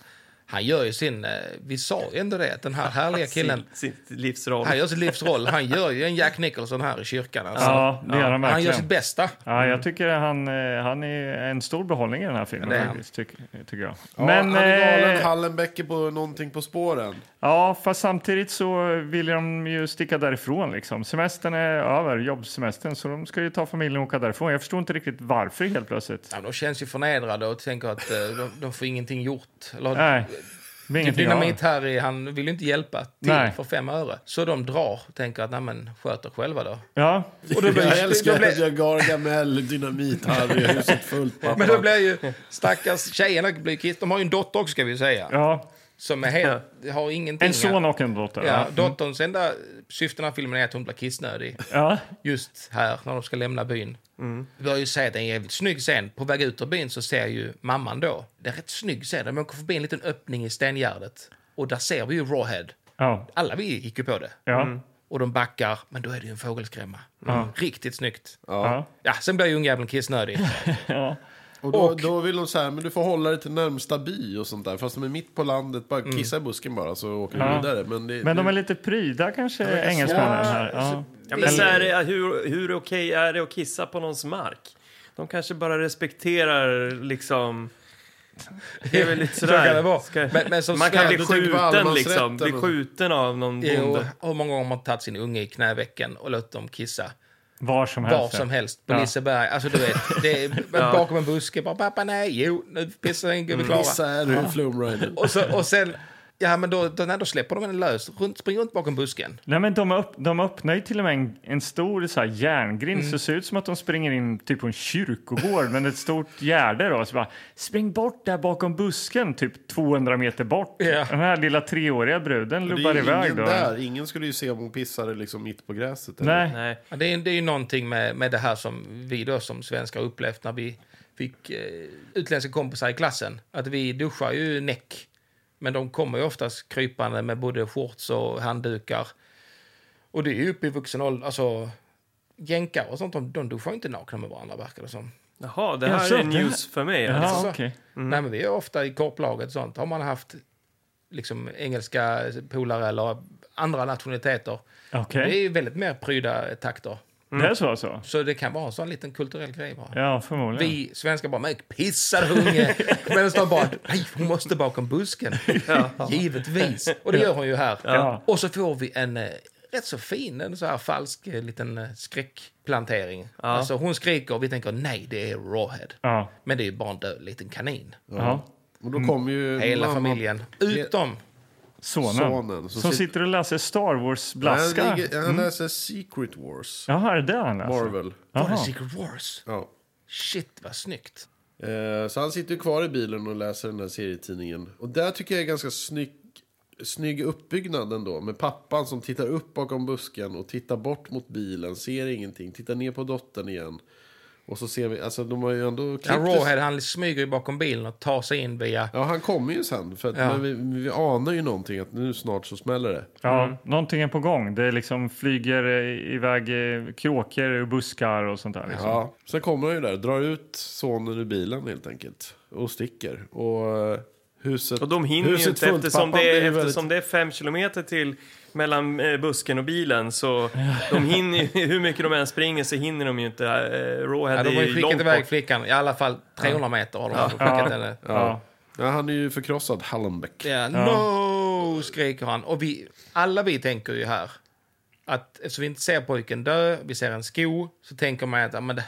Han gör ju sin, eh, vi sa ju ändå det, att den här härliga killen, Sin, sitt livsroll. han gör sitt livs roll. Han gör ju en Jack Nicholson här i kyrkan. Alltså. ja, det gör han han gör verkligen. sitt bästa. Ja, jag tycker han, eh, han är en stor behållning i den här filmen. Ja, det är faktiskt, tycker, tycker jag. Ja, han är eh, galen, Hallenbeck är på någonting på spåren. Ja, fast samtidigt så vill de ju sticka därifrån. Liksom. Semestern är över, jobbsemestern, så de ska ju ta familjen och åka därifrån. Jag förstår inte riktigt varför helt plötsligt. Ja, de känns ju förnedrade och tänker att eh, de, de får ingenting gjort. Eller, Typ Nej, det är ingenting av Dynamit det. Harry, han vill ju inte hjälpa till Nej. för fem öre. Så de drar, tänker att nej men sköter själva då. Ja, Och *laughs* då blir, jag då älskar blir, att jag Gargamel, Dynamit, Harry, huset fullt. Pappa. Men då blir ju stackars tjejerna blir kiss. De har ju en dotter också ska vi ju säga. ja. Som är helt, har ingenting. En son och en dotter. Ja, Ja. Mm. dotterns enda syfte i den här filmen är att hon blir kissnödig. Ja. Just här, när de ska lämna byn. Vi bör ju säga att det är en jävligt snygg scen. På väg ut ur byn så ser ju mamman då. Det är en rätt snygg scen. De åker förbi en liten öppning i stengärdet. Och där ser vi ju Rawhead. Ja. Alla vi gick ju på det. Ja. Och de backar, men då är det ju en fågelskrämma. Riktigt snyggt. Ja. Ja. sen blir ju ungjäveln kissnödig. Och då, då vill de så här, men du får hålla dig till närmsta by och sånt där. Fast de är mitt på landet, bara Mm. kissa i busken bara så åker vi Ja. vidare. Men det, Men de är lite pryda kanske, engelsmännen här. Ja. Ja, men så är det, hur, hur okej är det att kissa på någons mark? De kanske bara respekterar liksom Det är väl lite *laughs* sådär. Så kan det vara. Ska- Men- men som man kan svensk- bli du tycker på skjuten allemansrätten liksom. Bli och- skjuten av någon Jo, bonde. hur många gånger har man tagit sin unge i knävecken och låtit dem kissa Var som helst. var som helst på Ja. Liseberg? Alltså du vet, det är, bakom en buske bara pappa nej, jo, nu pissar den gubbe Klara. Isär ur Flumrider. Och, så, och sen, ja men då, då, nej, då släpper de henne lös. Runt, spring runt bakom busken. Nej, men de, upp, de öppnar ju till och med en, en stor så här järngrind Mm. så det ser ut som att de springer in typ på en kyrkogård men ett stort gärde. Då, så bara, Spring bort där bakom busken, typ 200 meter bort. Ja. Den här lilla treåriga bruden Det lubbar är ju iväg. ingen Då. där. Ingen skulle ju se om hon pissade liksom mitt på gräset. eller? Nej. Nej. Ja, Det är, det är ju någonting med, med det här som vi då som svenskar har upplevt när vi fick eh, utländska kompisar i klassen. Att vi duschar ju näck. Men de kommer ju oftast krypande med både shorts och handdukar. Och det är ju uppe i vuxen ålder, alltså jänkar och sånt, de, de duschar ju inte nakna med varandra verkar det som. Jaha, det Ja, här så är det- news för mig. Ja, Alltså. okej. Nej men vi är ofta i korplaget och sånt, har man haft liksom engelska polare eller andra nationaliteter. Okej. Det är ju väldigt mer pryda takter. Det är så så? Så det kan vara en sån liten kulturell grej bara. Ja, förmodligen. Vi svenskar bara, men pissar unge! *laughs* Medan de bara, nej hon måste bakom busken. Givetvis. Och det gör hon ju här. Ja. Och så får vi en eh, rätt så fin, en så här falsk eh, liten eh, skräckplantering. Alltså hon skriker och vi tänker, nej det är Rawhead. Ja. Men det är ju bara en död liten kanin. Ja. Och då kom ju Hela mamma- Mm. familjen. Utom, Sonen. Sonen, så som sit- sitter och läser Star Han, Wars-blaskar. ligger- han läser Secret Wars. Jaha, är det där han läser? Marvel. var det Jaha. Secret Wars? Ja. Shit vad snyggt. Eh, Så han sitter ju kvar i bilen och läser den där serietidningen. Och där tycker jag är ganska snygg, snygg uppbyggnad ändå. Med pappan som tittar upp bakom busken och tittar bort mot bilen, ser ingenting, tittar ner på dottern igen. Och så ser vi, alltså de har ju ändå Ja, klippt det- Rawhead han smyger ju bakom bilen och tar sig in via... Ja, han kommer ju sen. För att, Ja. men vi, vi anar ju någonting att nu snart så smäller det. Ja, någonting är på gång. Det liksom flyger eh, iväg eh, kråkor ur buskar och sånt där. Liksom. Ja. Sen kommer han ju där, drar ut sonen ur bilen helt enkelt. Och sticker. Och eh, huset Och de hinner ju huset inte fullt. eftersom Pappan det, är, blir väldigt- eftersom det är fem kilometer till mellan eh, busken och bilen så de hinner ju, *laughs* hur mycket de än springer så hinner de ju inte. Eh, Rawhead Ja, de har ju är ju skickat långt iväg bort. flickan, i alla fall 300 meter har de ja. skickat Ja. henne. Ja. Ja, han är ju förkrossad, Hallenbäck. Ja, no, skriker han. Och vi, alla vi tänker ju här att eftersom vi inte ser pojken dö, vi ser en sko, så tänker man att ja, men, det-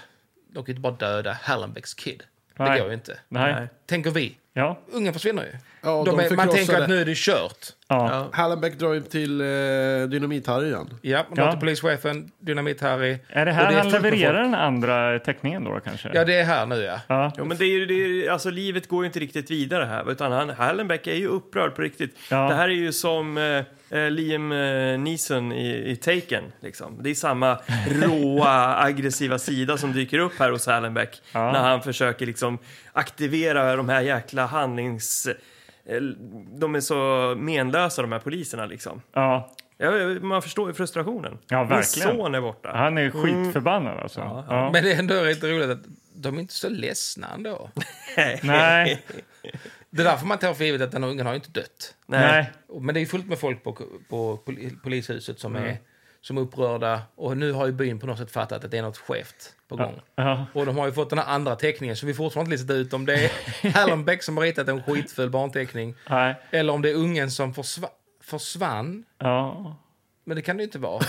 de kan ju inte bara döda Hallenbecks kid. Nej. Det går ju inte. Nej. Nej. Tänker vi. Ja. Ungen försvinner ju. Ja, de de är, man tänker förkrossade. att nu är det kört. Ja. Ja. Hallenbäck drar ju till eh, Dynamit-Harry igen. Ja, man Ja. ja. till polischefen, Dynamit-Harry. Är det Och här han fullt med levererar folk. den andra teckningen då kanske? Ja, det är här nu ja. Ja. Ja, men det är ju, det är, ju- alltså, livet går ju inte riktigt vidare här, utan han, Hallenbeck är ju upprörd på riktigt. Ja. Det här är ju som eh, eh, Liam eh, Neeson i, i Taken. Liksom. Det *laughs* är samma råa, aggressiva sida som dyker upp här hos Hallenbeck Ja. när han försöker liksom, aktivera de här jäkla handlings... eh, De är så menlösa de här poliserna liksom. Ja. Ja, Man förstår ju frustrationen. Ja, Min verkligen. son är borta. Han är skitförbannad alltså. Ja, Men det är ändå rätt roligt att de är inte så ledsna ändå. Nej. Det är därför man tar för givet att den här ungen har ju inte dött. *laughs* Nej. Men det är ju fullt med folk på, på poli- polishuset som Mm. är som är upprörda. Och nu har ju byn på något sätt fattat att det är något skevt på gång. Ja. Och de har ju fått den här andra teckningen, så vi får fortfarande inte listat ut om *laughs* det är Hallenbäck som har ritat en skitfull barnteckning. Nej. Eller om det är ungen som försva- försvann. Ja. Men det kan det ju inte vara.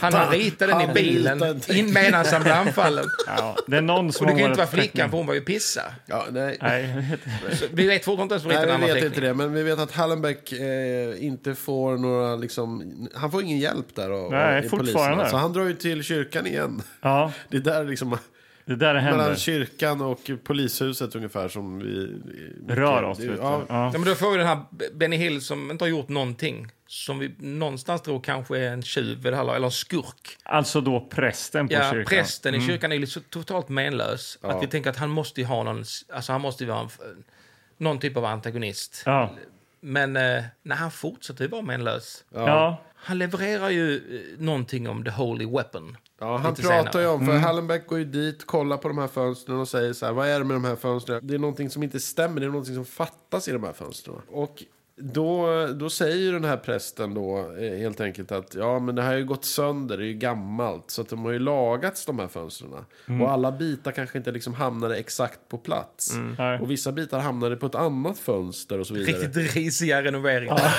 Han har ritat den i *laughs* han ritar en bilen teckning. in medan han blev anfallen. *laughs* ja. Det är någon Och som det kan har ju inte vara varit flickan, teckning. för hon var ju pissa. Ja, nej. Nej, jag vet inte. Så vi vet fortfarande inte ens som ritar Nej, den vi andra vet inte teckningen. det, men vi vet att Hallenbäck eh, inte får några, liksom, han får ingen hjälp där av, Nej, av i fortfarande. poliserna. Så han drar ju till kyrkan igen. *laughs* Ja, Det är där liksom, det där mellan alltså, händer. kyrkan och polishuset ungefär som vi... Rör oss lite. Ja, Ja. Ja, men då får vi den här Benny Hill som inte har gjort någonting. Som vi någonstans tror kanske är en tjuv vid det här laget, eller en skurk. Alltså då prästen på Ja, kyrkan. prästen Mm. i kyrkan är ju så totalt menlös. Att vi tänker att han måste ju ha någon, alltså han måste ju vara en, någon typ av antagonist. Ja. Men eh, när han fortsätter ju vara menlös. Ja. Han levererar ju eh, någonting om the holy weapon. Ja, han lite pratar senare. Mm. ju om, för Hallenbäck går ju dit, kollar på de här fönstren och säger så här, vad är det med de här fönstren? Det är någonting som inte stämmer, det är någonting som fattas i de här fönstren. Och Då, då säger den här prästen då eh, helt enkelt att ja, men det här har ju gått sönder, det är ju gammalt. Så att de har ju lagats de här fönstren. Mm. Och alla bitar kanske inte liksom hamnade exakt på plats. Nej. Och vissa bitar hamnade på ett annat fönster och så vidare. Mm. Riktigt risiga renoveringar.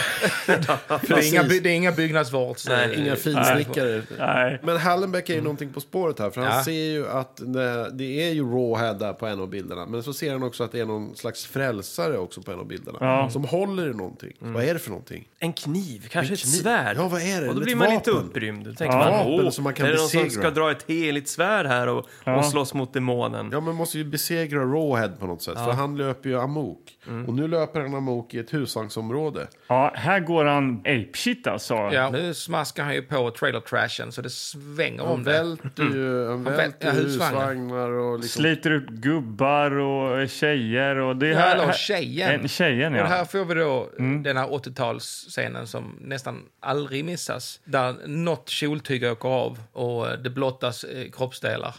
det, är inga, by- det är inga eh, byggnadsvård. så- Nej, Eh, inga finsnickare. Nej. Men Hallenbeck är ju någonting på spåret här. För han Ja. ser ju att det, det är ju Rawhead där på en av bilderna. Men så ser han också att det är någon slags frälsare också på en av bilderna. Ja. Som håller i någonting. Vad är det för någonting? En kniv, kanske ett kniv. svärd. Ja, vad är det? Och då Ett blir man lite vapen. upprymd. Då tänker Ja. man, Vapen åh, som man kan är det någon som besegra." ska dra ett heligt svärd här och, och slåss mot demonen? Ja, men måste ju besegra Rawhead på något sätt. För han löper ju amok. Och nu löper han amok i ett husvagnsområde. Ja, här går han apeshit alltså. Ja, nu smaskar han ju på trailer trashen så det svänger Han om det. välter ju han väl- välter ja, husvagnar. husvagnar och liksom... Sliter upp gubbar och tjejer. Och det är Ja, här, eller här- tjejen. En, tjejen, ja. Mm. Och här får vi då den här 80-talsscenen som nästan aldrig missas. Där något kjoltyg åker av och det blottas eh, kroppsdelar.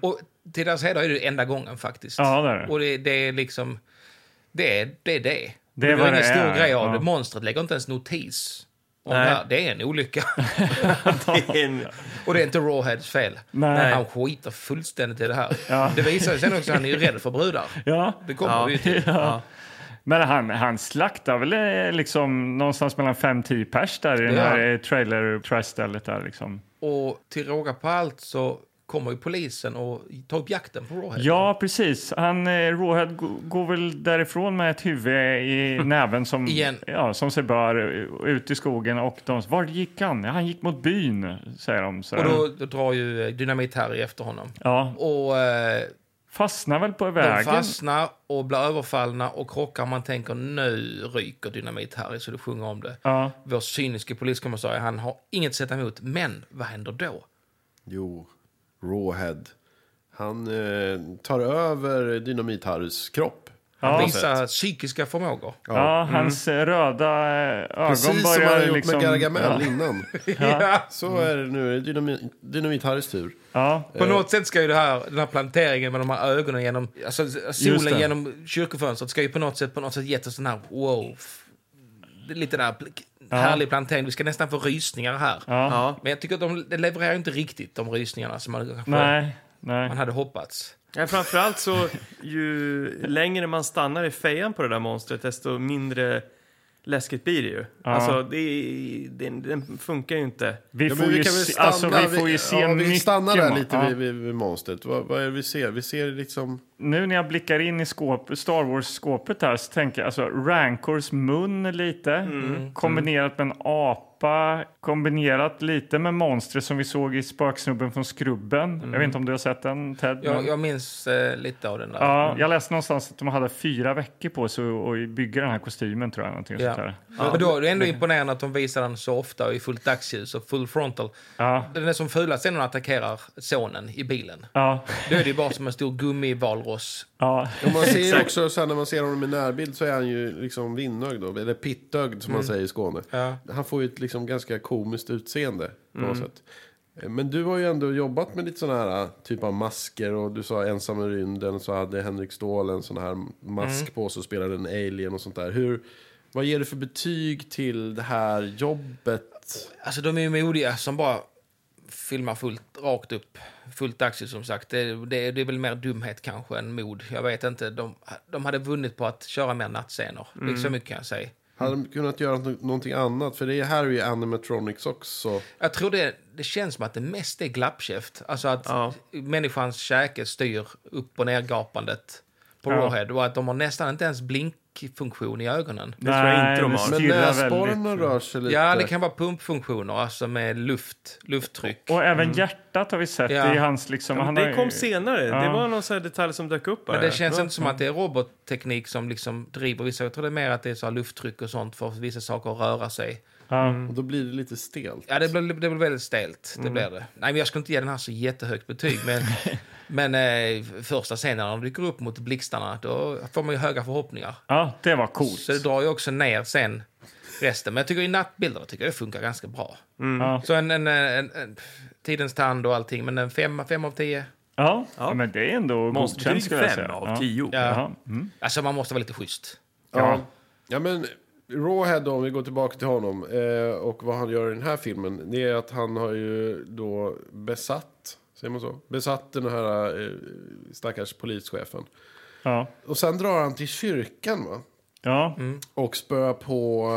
Och till deras heder är det enda gången faktiskt. Mm. Ja, det är det. Och det, det är liksom... Det är det. Är det. Det är det vad ingen det stor är, grej av ja. det. Monstret lägger inte ens notis. Om det, Nej. här. det är en olycka. *laughs* *laughs* Det är en, Och det är inte Rawheads fel. Nej. Han skiter fullständigt i det här. Ja. Det visar sig sen också att han är ju rädd för brudar. Ja. Det kommer vi ju till. Men han, han slaktar väl eh, liksom någonstans mellan 5-10 pers där i den Ja. här eh, trailer trash-stället där liksom. Och till råga på allt så kommer ju polisen och tar upp jakten på Rawhead. Ja, precis. Han, eh, Rawhead go- går väl därifrån med ett *laughs* huvud i näven som, Igen. ja, som sig bör eh, ut i skogen. Och de, var gick han? Ja, Han gick mot byn, säger de. Så Och här. då, då drar ju eh, Dynamit-Harry efter honom. ja, Och eh, fastnar väl på de vägen. fastnar och blir överfallna och krockar. Man tänker nu ryker Dynamit-Harry så du sjunger om det. Ja. Vår cyniske poliskommissarie, han har inget att sätta emot. Men vad händer då? Jo, Rawhead. Han eh, tar över Dynamit-Harrys kropp. Han Ja. visar psykiska förmågor. Ja, hans eh, röda eh, ögon Mm. Precis som börjar han har gjort liksom... med Gargamel Ja, innan. *laughs* Så Mm. är det nu. Det är dynami- Dynamit-Harrys tur. ja, På något sätt ska ju det här, den här planteringen med de här ögonen genom, alltså det. solen genom kyrkofönstret ska ju på något sätt, på något sätt gett oss den här wow. f- det är Lite där pl- härlig plantering, vi ska nästan få rysningar här. ja. Men jag tycker att de det levererar ju inte riktigt de rysningarna som man kanske Nej, nej. man hade hoppats. Nej, framförallt så, ju längre man stannar i fejan på det där monstret, desto mindre läskigt blir det ju. Alltså, det, är- den, den funkar ju inte. Vi Ja, får men ju vi kan väl se, stanna, alltså, vi får ju se ja, mycket. vi stannar där ma- lite ja. vid, vid, vid monstret. Vad, vad är det vi ser? Vi ser liksom... Nu när jag blickar in i skåp, Star Wars-skåpet här så tänker jag alltså Rancors mun lite Mm. kombinerat med en apa kombinerat lite med monstret som vi såg i Spöksnubben från Skrubben. Mm. Jag vet inte om du har sett den Ted? Jag, men- jag minns eh, lite av den där. Ja, Mm. jag läste någonstans att de hade fyra veckor på sig att att bygga den här kostymen tror jag. Någonting sånt Ja. där. Men då är det ändå imponerande att de visar den så ofta och i fullt dagsljus och full frontal. Ja. Den är som fulast är när de attackerar sonen i bilen. Ja, Då är det ju bara som en stor gummivalross ja, *laughs* Och man ser ju också sen när man ser honom i närbild så är han ju liksom vinnögd då. Eller pittögd som man säger i Skåne. Mm. Ja. Mm. Han får ju ett liksom ganska komiskt utseende på något sätt. Men du har ju ändå jobbat med lite sådana här typ av masker. Och du sa ensam i rymden så hade Henrik Ståhl en sån här mask Mm. på sig och spelade en alien och sånt där. Hur, vad ger du för betyg till det här jobbet? Alltså de är ju modiga som bara filmar fullt rakt upp. Fullt dagsljus som sagt. Det, det, det är väl mer dumhet kanske än mod. Jag vet inte. De, de hade vunnit på att köra mer nattscener. Det är Mm. så mycket kan jag säga. Hade de kunnat göra nå- någonting annat? För det här är ju animatronics också. Jag tror det, det känns som att det mest är glappkäft. Alltså att Ja. människans käke styr upp och nergapandet på Ja. Rawhead. Och att de har nästan inte ens blinkfunktion i ögonen. Det tror jag inte de det har. Men stirrar näsborrarna väldigt. rör sig lite. Ja, det kan vara pumpfunktioner, alltså med luft, lufttryck. Och även hjärtat har vi sett Ja. i hans liksom... Mm. Ja, men han har det ju- kom senare. Det Ja. var någon sån här detalj som dök upp. Men här. det känns inte som att det är robotteknik som liksom driver vissa. Jag tror det är mer att det är så här lufttryck och sånt för vissa saker att röra sig. Ja. Och då blir det lite stelt. Ja, det blir, det blir väldigt stelt. Det blir det. Mm. Nej, men jag skulle inte ge den här så jättehögt betyg. Men, *laughs* men eh, första scenen när de dyker upp mot blixtarna, då får man ju höga förhoppningar. ja, det var coolt. Så det drar ju också ner sen resten. Men jag tycker i nattbilderna tycker jag det funkar ganska bra. Ja. Så en, en, en, en tidens tand och allting, men en femma, fem av tio. Ja, men det är ändå godkänt Monsterdryg skulle jag säga. fem av ja. tio. Ja. Ja. Mm. Alltså man måste vara lite schysst. Ja. ja, men Rawhead, om vi går tillbaka till honom eh, och vad han gör i den här filmen, det är att han har ju då besatt, säger man så? Besatt den här eh, stackars polischefen. Ja. Och sen drar han till kyrkan va? Ja, Och spöar på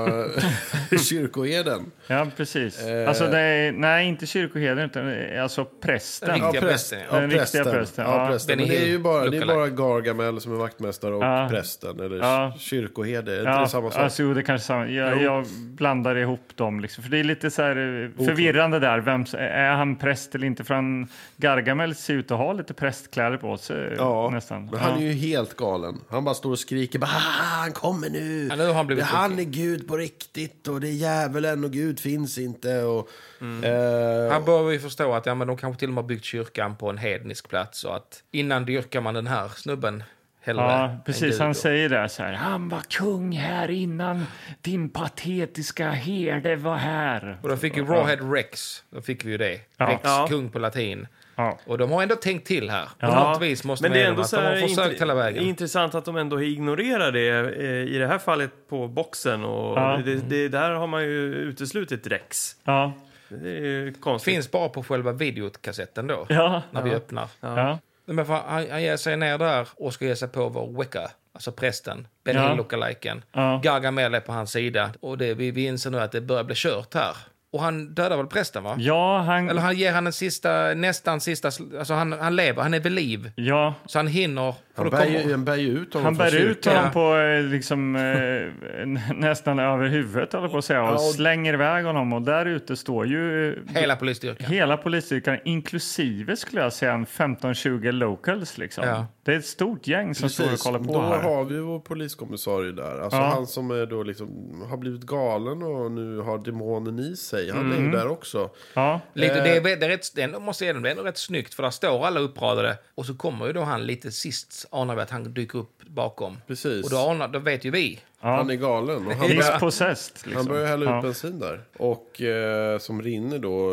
eh, *laughs* kyrkoherden. ja precis. Eh. Alltså, det är, nej, inte kyrkoherden, utan eh, alltså prästen. Riktiga präst- prästen, ja. Den riktiga prästen, Ja, ja. prästen. Den Men är det är helt ju bara, det är lookalike. bara Gargamel som är vaktmästare och prästen. Eller Ja. kyrkoherde. Är inte Ja, det samma sak? alltså, jo, det kanske är samma. Jag, jag blandar ihop dem. Liksom. För Det är lite så här, eh, förvirrande där. Vem, är han präst eller inte? För han, Gargamel ser ut att ha lite prästkläder på sig. Ja, nästan. men han ja. är ju helt galen. Han bara står och skriker. Bara, "Ah, han kommer nu. Ja, nu har han blivit han är tokig." Gud på riktigt och det är djävulen och Gud finns inte. Och, eh, Mm. Han behöver ju förstå att ja, men de kanske till och med har byggt kyrkan på en hednisk plats och att innan dyrkar man den här snubben hellre Ja, än precis. Gud. Han säger det så här. Han var kung här innan din patetiska herde var här. Och då fick ju Rawhead Rex, då fick vi ju det. Ja. Rex, Ja. kung på latin. Ja. Och de har ändå tänkt till här. På Ja. något vis måste Men man det är ge ändå dem att så de har här försökt hela vägen. intressant att de ändå ignorerar det eh, i det här fallet på boxen. Och Ja. Mm. det, det, där har man ju uteslutit Rex. Ja. Det är ju konstigt. Finns bara på själva videokassetten då, Ja. när vi öppnar. Ja. Nej, Men fan, han, han ger sig ner där och ska ge sig på vår Wicca, alltså prästen, Ben Ja. Hill-lookaliken. Ja. Gargamel är på hans sida och det, vi, vi inser nu att det börjar bli kört här. Och han dödar väl prästen va? Ja, han... Eller han ger han en sista, nästan sista, sl- alltså han, han lever, han är vid liv. Ja, Så han hinner, för han, då bär ju, kommer... han bär ju ut honom han från bär ut kyrkan. honom på eh, liksom, eh, *laughs* n- nästan över huvudet håller jag på att säga, och slänger iväg honom. Och där ute står ju eh, Hela polisstyrkan. hela polisstyrkan, inklusive skulle jag säga en 15-20 locals. Liksom. Ja. Det är ett stort gäng som Precis, står och kollar då på här. har vi vår poliskommissarie där. Alltså Ja. han som är då liksom, har blivit galen och nu har demonen i sig. Han är Mm. ju där också. Ja. Lite, eh. det, är, det, är rätt, det är ändå- måste jag ge dem, det är ändå rätt snyggt för där står alla uppradade och så kommer ju då han lite sist anar vi att han dyker upp bakom. Precis. Och då, anar, då vet ju vi. Han är galen. Och han, He's bär- possessed. Liksom. han börjar hälla ut ja. bensin där. Och eh, som rinner då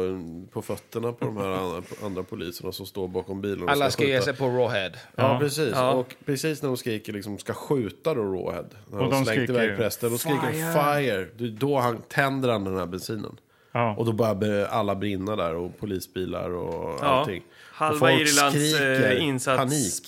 på fötterna på de här *laughs* andra, andra poliserna som står bakom bilen. och Alla ska ge skjuta. sig på Rawhead. Ja, precis. Och precis när de skriker liksom ska skjuta då Rawhead. När Och de de slängt skriker iväg ju, prästen. Då skriker de fire. Det är Då han tänder han den här bensinen. Ja. Och då börjar be- alla brinna där och polisbilar och allting. och Halva folk Irlands skriker eh, insats, panik.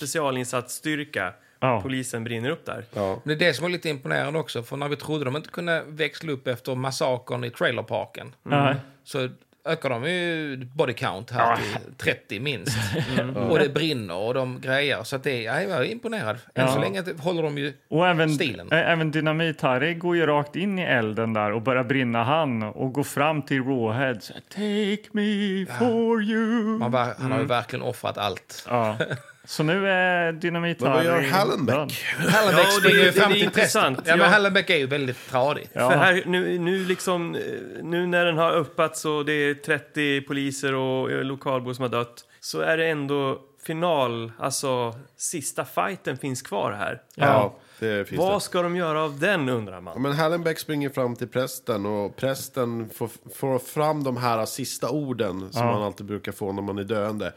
specialinsatsstyrka. Ja. Polisen brinner upp där. Ja. Men det är det som är lite imponerande också, för när vi trodde de inte kunde växla upp efter massakern i trailerparken Mm. Nej. så ökar de ju body count här till 30 minst. Mm. Och det brinner och de grejer. Så att det, ja, jag är imponerad. Än så länge håller de ju... Och även, Stilen. ä- även dynamit Harry går ju rakt in i elden där och börjar brinna han och går fram till Rawhead. Så här, Take me for you. Man bara, han har Mm. ju verkligen offrat allt. Ja. Så nu är dynamit Men vad gör Harry död. Hallenbeck? Hallenbeck Ja, och det- springer ju det- fram det är till prästen. intressant. Ja, men Ja. Hallenbeck är ju väldigt tradig. För här, nu, nu, liksom, eh, nu när den har öppats och det är 30 poliser och eh, lokalbor som har dött så är det ändå final, alltså sista fighten finns kvar här. Ja, det finns det. Vad ska de göra av den undrar man. Ja, Men Hallenbeck springer fram till prästen och prästen får, får fram de här sista orden som man alltid brukar få när man är döende.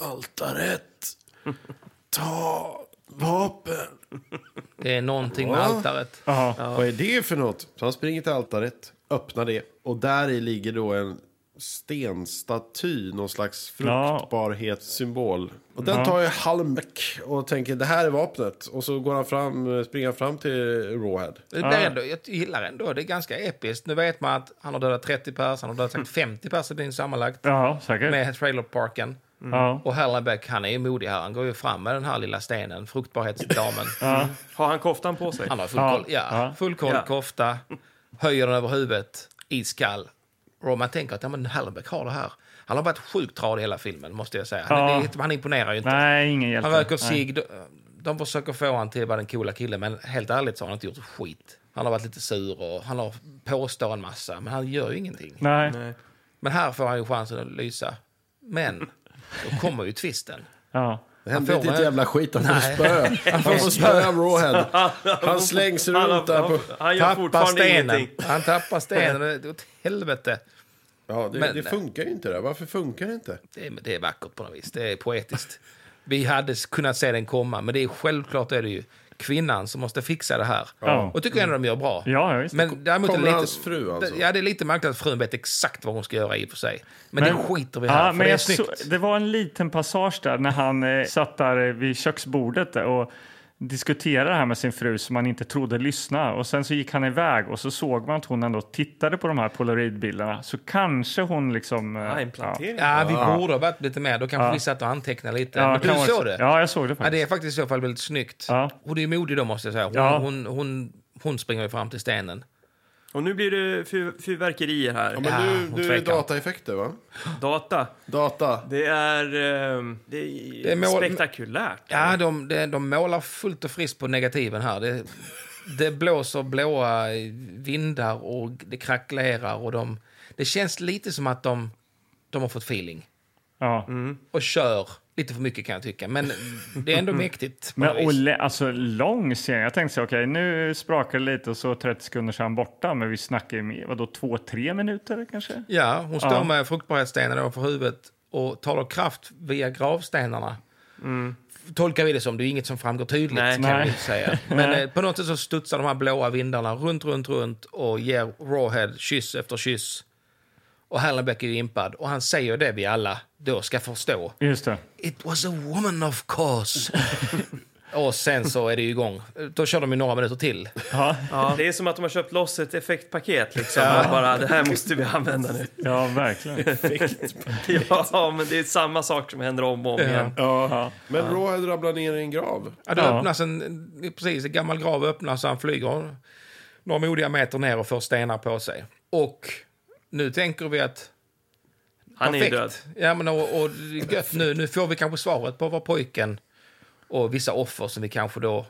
Altaret! Ta vapen! Det är någonting med altaret. Vad är det för något? Så han springer till altaret, öppnar det och där i ligger då en stenstaty, någon slags Ja. fruktbarhetssymbol. Och den tar ju Hallenbeck och tänker det här är vapnet. Och så går han fram, eh, springer han fram till Rawhead. Det blir ändå, jag gillar ändå, det är ganska episkt. Nu vet man att han har dödat 30 pers, han har dödat säkert 50 pers i byn sammanlagt. Ja, säkert. Med Mm. trailerparken. Ja. Och Hallenbeck, han är ju modig här. Han går ju fram med den här lilla stenen, fruktbarhetsdamen. Har han koftan på sig? Han har full koll, ja, Ja. full koll Ja. kofta, höjer den över huvudet, iskall. Och man tänker att ja, men Hallenbeck har det här. Han har varit sjukt tradig hela filmen, måste jag säga. Han, Ja. det, han imponerar ju inte. Nej, ingen hjälte. Han röker cigg. De, de försöker få han till att vara den coola killen, men helt ärligt så har han inte gjort skit. Han har varit lite sur och han har påstår en massa, men han gör ju ingenting. Nej. Men här får han ju chansen att lysa. Men då kommer ju tvisten. Ja. Det hände Han får inte ett en- jävla skit, han får spö. Han får spö av Rawhead. Han slängs han runt har- där på... han gör Tappar fortfarande stenen. ingenting. Han tappar stenen. Det är åt helvete. Ja, det, Men- det funkar ju inte det. Varför funkar det inte? Det är, det är vackert på något vis. Det är poetiskt. Vi hade s- kunnat se den komma, men det är självklart är det ju kvinnan som måste fixa det här. Ja. Och tycker ändå de gör bra. Ja, ja, visst. Men däremot är det Kommer lite, hans fru alltså? Ja, det är lite märkligt att frun vet exakt vad hon ska göra i och för sig. Men, det skiter vi här, Ja, för men det är jag så, snyggt. det var en liten passage där när han eh, satt där eh, vid köksbordet där och diskuterade det här med sin fru som han inte trodde lyssnade. Och sen så gick han iväg och så såg man att hon ändå tittade på de här polaroidbilderna. Så kanske hon liksom... eh, Ah, en plantering. Ja, vi borde ha varit lite mer. Då kanske vi satt och antecknade lite. Ja, men kan du vara- såg det? Ja, jag såg det Ja, det faktiskt. är faktiskt i så fall väldigt snyggt. Ja. Hon är modig då, måste jag säga. Hon, Ja. hon, hon, hon springer ju fram till stenen. Och nu blir det fyr- fyrverkerier här. Ja, Ja, men hon nu, nu är det tvekar. dataeffekter va? Data. Data. Det är, ehm, det är, Det är mål- spektakulärt. Ja, de, de, de målar fullt och friskt på negativen här. Det, det blåser blåa vindar och det kracklerar och de... Det känns lite som att de, de har fått feeling. Ja. Och kör lite för mycket kan jag tycka. Men det är ändå mäktigt. på Men något vis. och le, alltså, lång scen. Jag tänkte så här, okej, nu sprakar det lite och så 30 sekunder så är han borta. Men vi snackar ju med, vadå, två, tre minuter kanske? Ja, hon står Ja. med fruktbarhetsstenarna ovanför huvudet och talar kraft via gravstenarna. Tolkar vi det som. Det är ju inget som framgår tydligt. Nej. kan Mm. Nej. vi inte säga. *laughs* Men eh, på något sätt så studsar de här blåa vindarna runt, runt, runt och ger Rawhead kyss efter kyss. Och Hallenbeck är ju impad. Och han säger det vi alla då ska förstå. Just det. It was a woman of *laughs* course. och sen så är det ju igång. Då kör de ju några minuter till. Ja, det är som att de har köpt loss ett effektpaket. Liksom. Och Bara, det här måste vi *laughs* använda nu. Ja, verkligen. Ja, men det är samma sak som händer om och om igen. Ja. Men Rawhead ramlar ner i en grav. Ja, då Ja. öppnas en, eh, precis, en gammal grav öppnas och han flyger några modiga meter ner och får stenar på sig. Och nu tänker vi att... Han är ju perfekt. död. Ja, men och, och gött nu, nu får vi kanske svaret på vad pojken och vissa offer som vi kanske då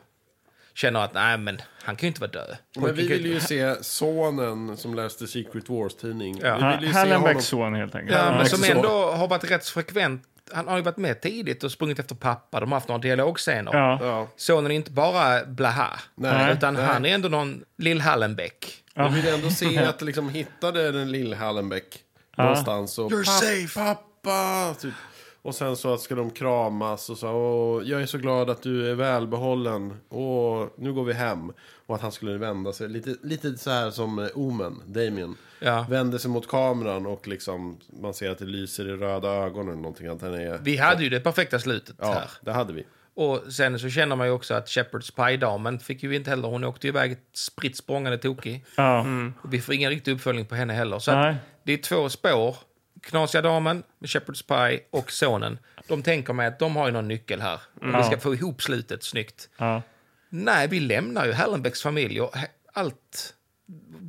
känner att nej, men han kan ju inte vara död. Men Pojken vi kan vill ju se sonen som läste Secret Wars tidning. Ja. Vi vill ju se honom. Hallenbecks son helt enkelt. Ja, men som exakt. ändå har varit rätt frekvent. Han har ju varit med tidigt och sprungit efter pappa. De har haft några dialogscener. Ja. Ja. Sonen är inte bara blaha, Nej. utan han är ändå någon lill Hallenbäck. Vi vill ändå se att liksom hittade den lille Hallenbeck någonstans. Och, You're safe! Pappa! Typ. Och sen så att ska de kramas och så. Och, jag är så glad att du är välbehållen. Och nu går vi hem. Och att han skulle vända sig. Lite, lite så här som eh, Omen, Damien. Ja. Vänder sig mot kameran och liksom man ser att det lyser i röda ögonen eller någonting. Att han är... Vi hade ju det perfekta slutet ja, här. det hade vi. Och sen så känner man ju också att Shepards pajdamen fick ju inte heller, hon åkte ju iväg spritt språngande tokig. Ja. Och vi får ingen riktig uppföljning på henne heller. Så Nej. att det är två spår. Knasiga damen med Shepards paj och sonen. De tänker mig att de har ju någon nyckel här. Och vi ska få ihop slutet snyggt. Ja. Nej, vi lämnar ju Hallenbecks familj och he- allt.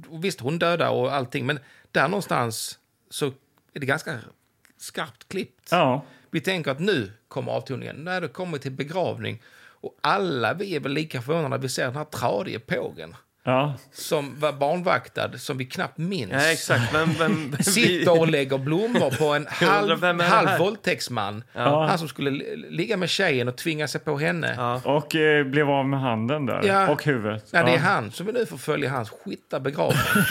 Och Visst, hon dödar och allting, men där någonstans så är det ganska skarpt klippt. Ja. Vi tänker att nu kommer avtoningen. När det kommer till begravning och alla vi är väl lika förvånade när vi ser den här tradige pågen Ja. som var barnvaktad, som vi knappt minns. Ja, exakt. Vem, vem, vem, Sitter och lägger blommor på *laughs* en undrar, halv, vem är det här? halv våldtäktsman. Han som skulle li- ligga med tjejen och tvinga sig på henne. Och eh, blev av med handen där. Ja. Och huvudet. Ja, det är han som vi nu får följa hans skitta begravning. *laughs*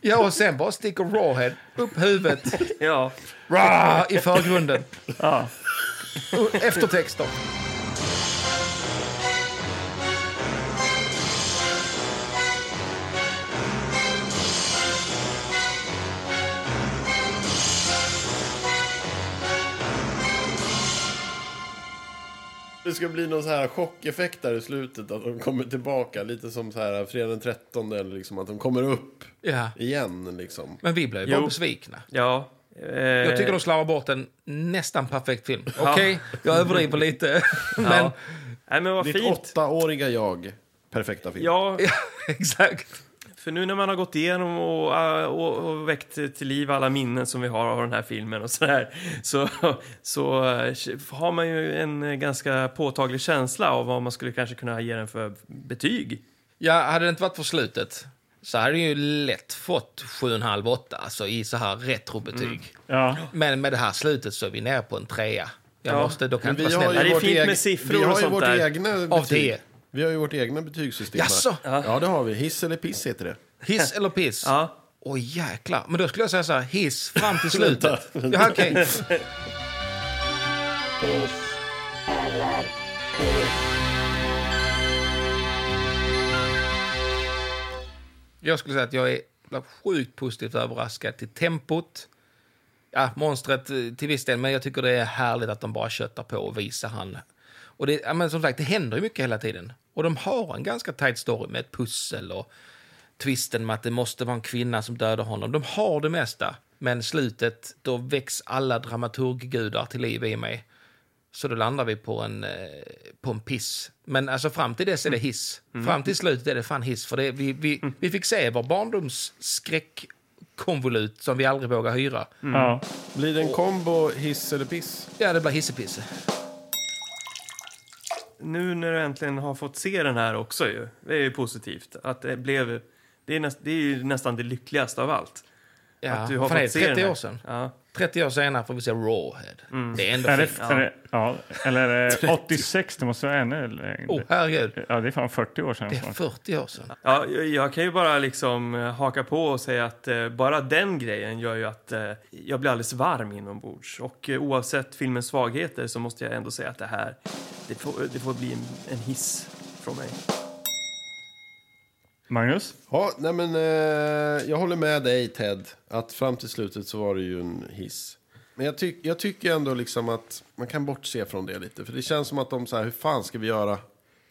Ja, och sen bara sticker Rawhead upp huvudet *laughs* ja. rah, i förgrunden. Och Eftertexter. Det ska bli någon så här chockeffekt där i slutet. Att de kommer tillbaka. Lite som så här fredag den 13. Eller liksom att de kommer upp Ja. igen liksom. Men vi blev ju Jo. bara besvikna. ja. Eh, Jag tycker de slarvar bort en nästan perfekt film. Okej, jag överdriver *laughs* lite. Men ja. Nej, men vad Ditt fint. åttaåriga jag. Perfekta film. Ja, *laughs* ja, exakt. för nu när man har gått igenom och, eh, och, och väckt till liv alla minnen som vi har av den här filmen och sådär, så, så eh, har man ju en eh, ganska påtaglig känsla av vad man skulle kanske kunna ge den för betyg. Ja, hade det inte varit för slutet så hade jag ju lätt fått 7,5-8 alltså i så här retrobetyg. Mm. Ja. Men med det här slutet så är vi nere på en trea. Jag Ja. måste, då kan jag Men inte vi vara har snäll. ju det är vårt fint med egen- siffror vi har och ju sånt vårt där. Egna Av betyg. tio. Vi har ju vårt egna betygssystem. här. Jaså? Ja. ja, det har vi. Hiss eller piss heter det. Hiss eller piss? Åh Ja. jäklar. Men då skulle jag säga så här, hiss fram till slutet. ja, okej. Piss eller piss. jag skulle säga att jag är sjukt positivt överraskad till tempot. Ja, monstret eh, till viss del, men jag tycker det är härligt att de bara köttar på och visar han. Och det, ja, men som sagt, det händer ju mycket hela tiden. Och de har en ganska tight story med ett pussel och twisten med att det måste vara en kvinna som dödar honom. De har det mesta, men slutet, då väcks alla dramaturggudar till liv i mig. Så då landar vi på en, eh, på en piss. Men alltså fram till dess är Mm. det hiss. Fram till slutet är det fan hiss. För det, vi, vi, vi fick se vår barndomsskräckkonvolut som vi aldrig vågar hyra. Mm. Ja. Blir det en kombo hiss eller piss? Ja, det blir hissepisse. Nu när du äntligen har fått se den här också ju. Det är ju positivt. Att det blev... Det är, näst, det är ju nästan det lyckligaste av allt. Ja, att du har fan, fått det se är den 30 här. år sedan. Ja. 30 år senare får vi se Rawhead. Mm. Det är ändå Är fint. det, är det, ja. Eller *laughs* är det 86, det måste vara ännu längre. Åh, herregud. Ja, det är fan 40 år sedan. Oh. Det är snart. 40 år sedan. Ja, jag- jag kan ju bara liksom eh, haka på och säga att eh, bara den grejen gör ju att eh, jag blir alldeles varm inombords. Och eh, oavsett filmens svagheter så måste jag ändå säga att det här, det får, det får bli en, en hiss från mig. Magnus? Ja, nej men eh, jag håller med dig Ted. Att fram till slutet så var det ju en hiss. Men jag, tyck- jag tycker ändå liksom att man kan bortse från det lite. För det känns som att de så här, hur fan ska vi göra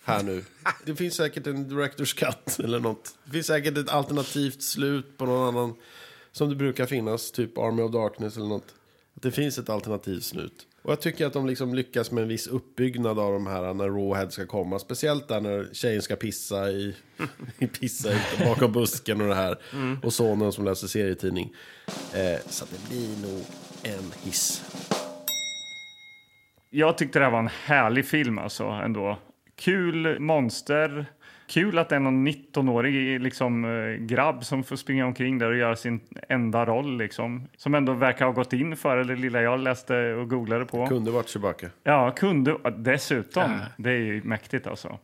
här nu? Det finns säkert en director's cut *laughs* eller något. Det finns säkert ett alternativt slut på någon annan. Som det brukar finnas, typ Army of Darkness eller något. Att det finns ett alternativt slut. Och jag tycker att de liksom lyckas med en viss uppbyggnad av de här när Rawhead ska komma. Speciellt där när tjejen ska pissa i, *laughs* i pissa ut bakom busken och det här. Och sonen som läser serietidning. Eh, så att det blir nog en hiss. Jag tyckte det här var en härlig film alltså ändå. Kul monster. Kul att det är någon 19-årig liksom, eh, grabb som får springa omkring där och göra sin enda roll. Liksom. Som ändå verkar ha gått in för det lilla jag läste och googlade på. Kunde varit Chewbacca. Ja, kunde. Dessutom. Det är ju mäktigt alltså.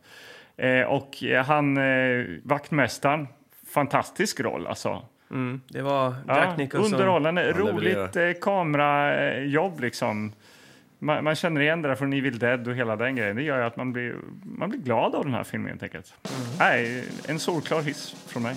Eh, och eh, han, eh, vaktmästaren, fantastisk roll alltså. Mm, det var Jack Ja, Nicholson. underhållande, roligt levererar. eh, kamerajobb liksom. Man, man känner igen det där från Evil Dead och hela den grejen. Det gör ju att man blir, man blir glad av den här filmen helt enkelt. Mm. Nej, en solklar hiss från mig.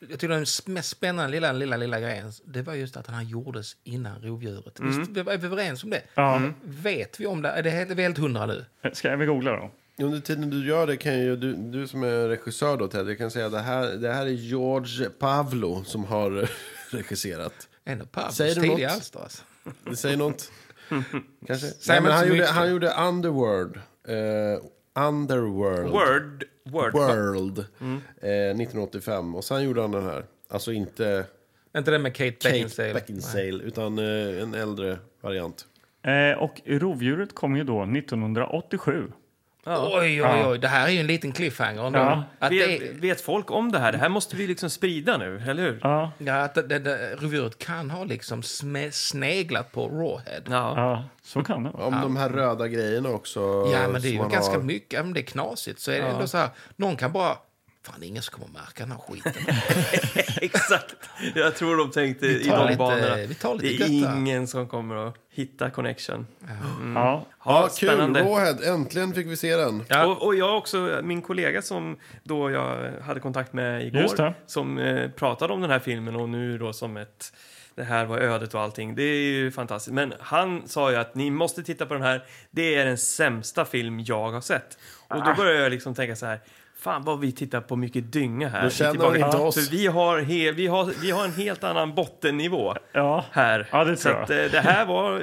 Jag tycker den mest spännande lilla, lilla, lilla grejen det var just att den här gjordes innan rovdjuret. Visst, vi var överens om det? Mm. Ja. Mm. Vet vi om det? Är det helt, är vi helt hundra nu? Eh, Ska vi googla då? Under tiden du gör det kan ju du, du som är regissör då Ted, jag kan säga att det här, det här är George Pavlo som har *laughs* regisserat. Ändå Pavlos Säger du något? tidiga alster alltså. Det *laughs* säger något. Kanske. Säger Nej, man inte men han, så gjorde, mycket. han gjorde Underworld. Eh, Underworld. Word, word. World. Mm. Eh, 1985. Och sen gjorde han den här. Alltså inte Inte den med Kate Kate Beckinsale? Beckinsale, utan eh, en äldre variant. Eh, och Rovdjuret kom ju då 1987. Oj, oj, oj. Det här är ju en liten cliffhanger. ändå. Ja. Att det, Vet, är- vet folk om det här? Det här måste vi liksom sprida nu, eller hur? Ja, ja, att det, det, det, revyret kan ha liksom sme, sneglat på Rawhead. Ja. ja så kan det vara. Om de här röda grejerna också. Ja, men det är som ju han ganska har. mycket. Om det är knasigt så är det ändå så här. Någon kan bara... Fan, det är ingen som kommer märka den här skiten. *laughs* Exakt. Jag tror de tänkte i tar de lite- banorna. vi tar lite det är gött här. ingen som kommer att hitta connection. Mm. Ja. Ja, kul. spännande. Rawhead. Äntligen fick vi se den. Ja. Och, och jag också, min kollega som då jag hade kontakt med Just igår det. som eh, pratade om den här filmen och nu då som ett det här var ödet och allting. Det är ju fantastiskt. Men han sa ju att ni måste titta på den här. Det är den sämsta film jag har sett. Och Ah. då började jag liksom tänka så här. Fan vad vi tittar på mycket dynga här. Då i känner Tillbaka- vi inte Ja, oss. För vi har, he, vi, har, vi har en helt annan bottennivå Ja. här. Ja, det så tror jag. att, eh, det här var, eh,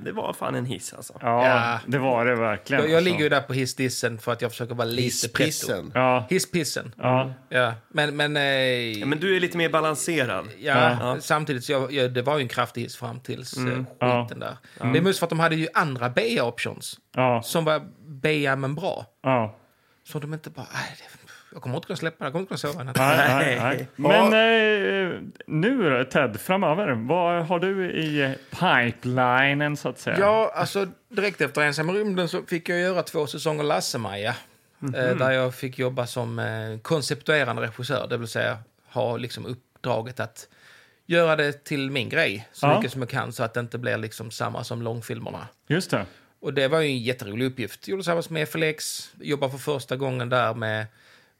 det var fan en hiss alltså. Ja, Ja. det var det verkligen. Jag, jag alltså. ligger ju där på hissdissen för att jag försöker vara lite pretto. Pissen. Ja, Hisspissen. ja. Ja, men... men, eh, ja, Men du är lite mer balanserad. ja, Samtidigt, så jag, jag, det var ju en kraftig hiss fram tills eh, skiten där. Det är mest för att de hade ju andra BA-options ja, som var BA men bra. ja. Så de inte bara... "Aj, det- Jag kommer inte kunna släppa det, jag kommer inte kunna sova i natt." Nej, nej, nej. Men eh, nu då, Ted, framöver, vad har du i pipelinen så att säga? Ja, alltså direkt efter Ensam i rymden så fick jag göra två säsonger Lasse-Maja. Eh, Där jag fick jobba som eh, konceptuerande regissör, det vill säga ha liksom uppdraget att göra det till min grej så Ja. mycket som jag kan så att det inte blir liksom samma som långfilmerna. Just det. Och det var ju en jätterolig uppgift. Gjorde tillsammans med FLX, jobbade för första gången där med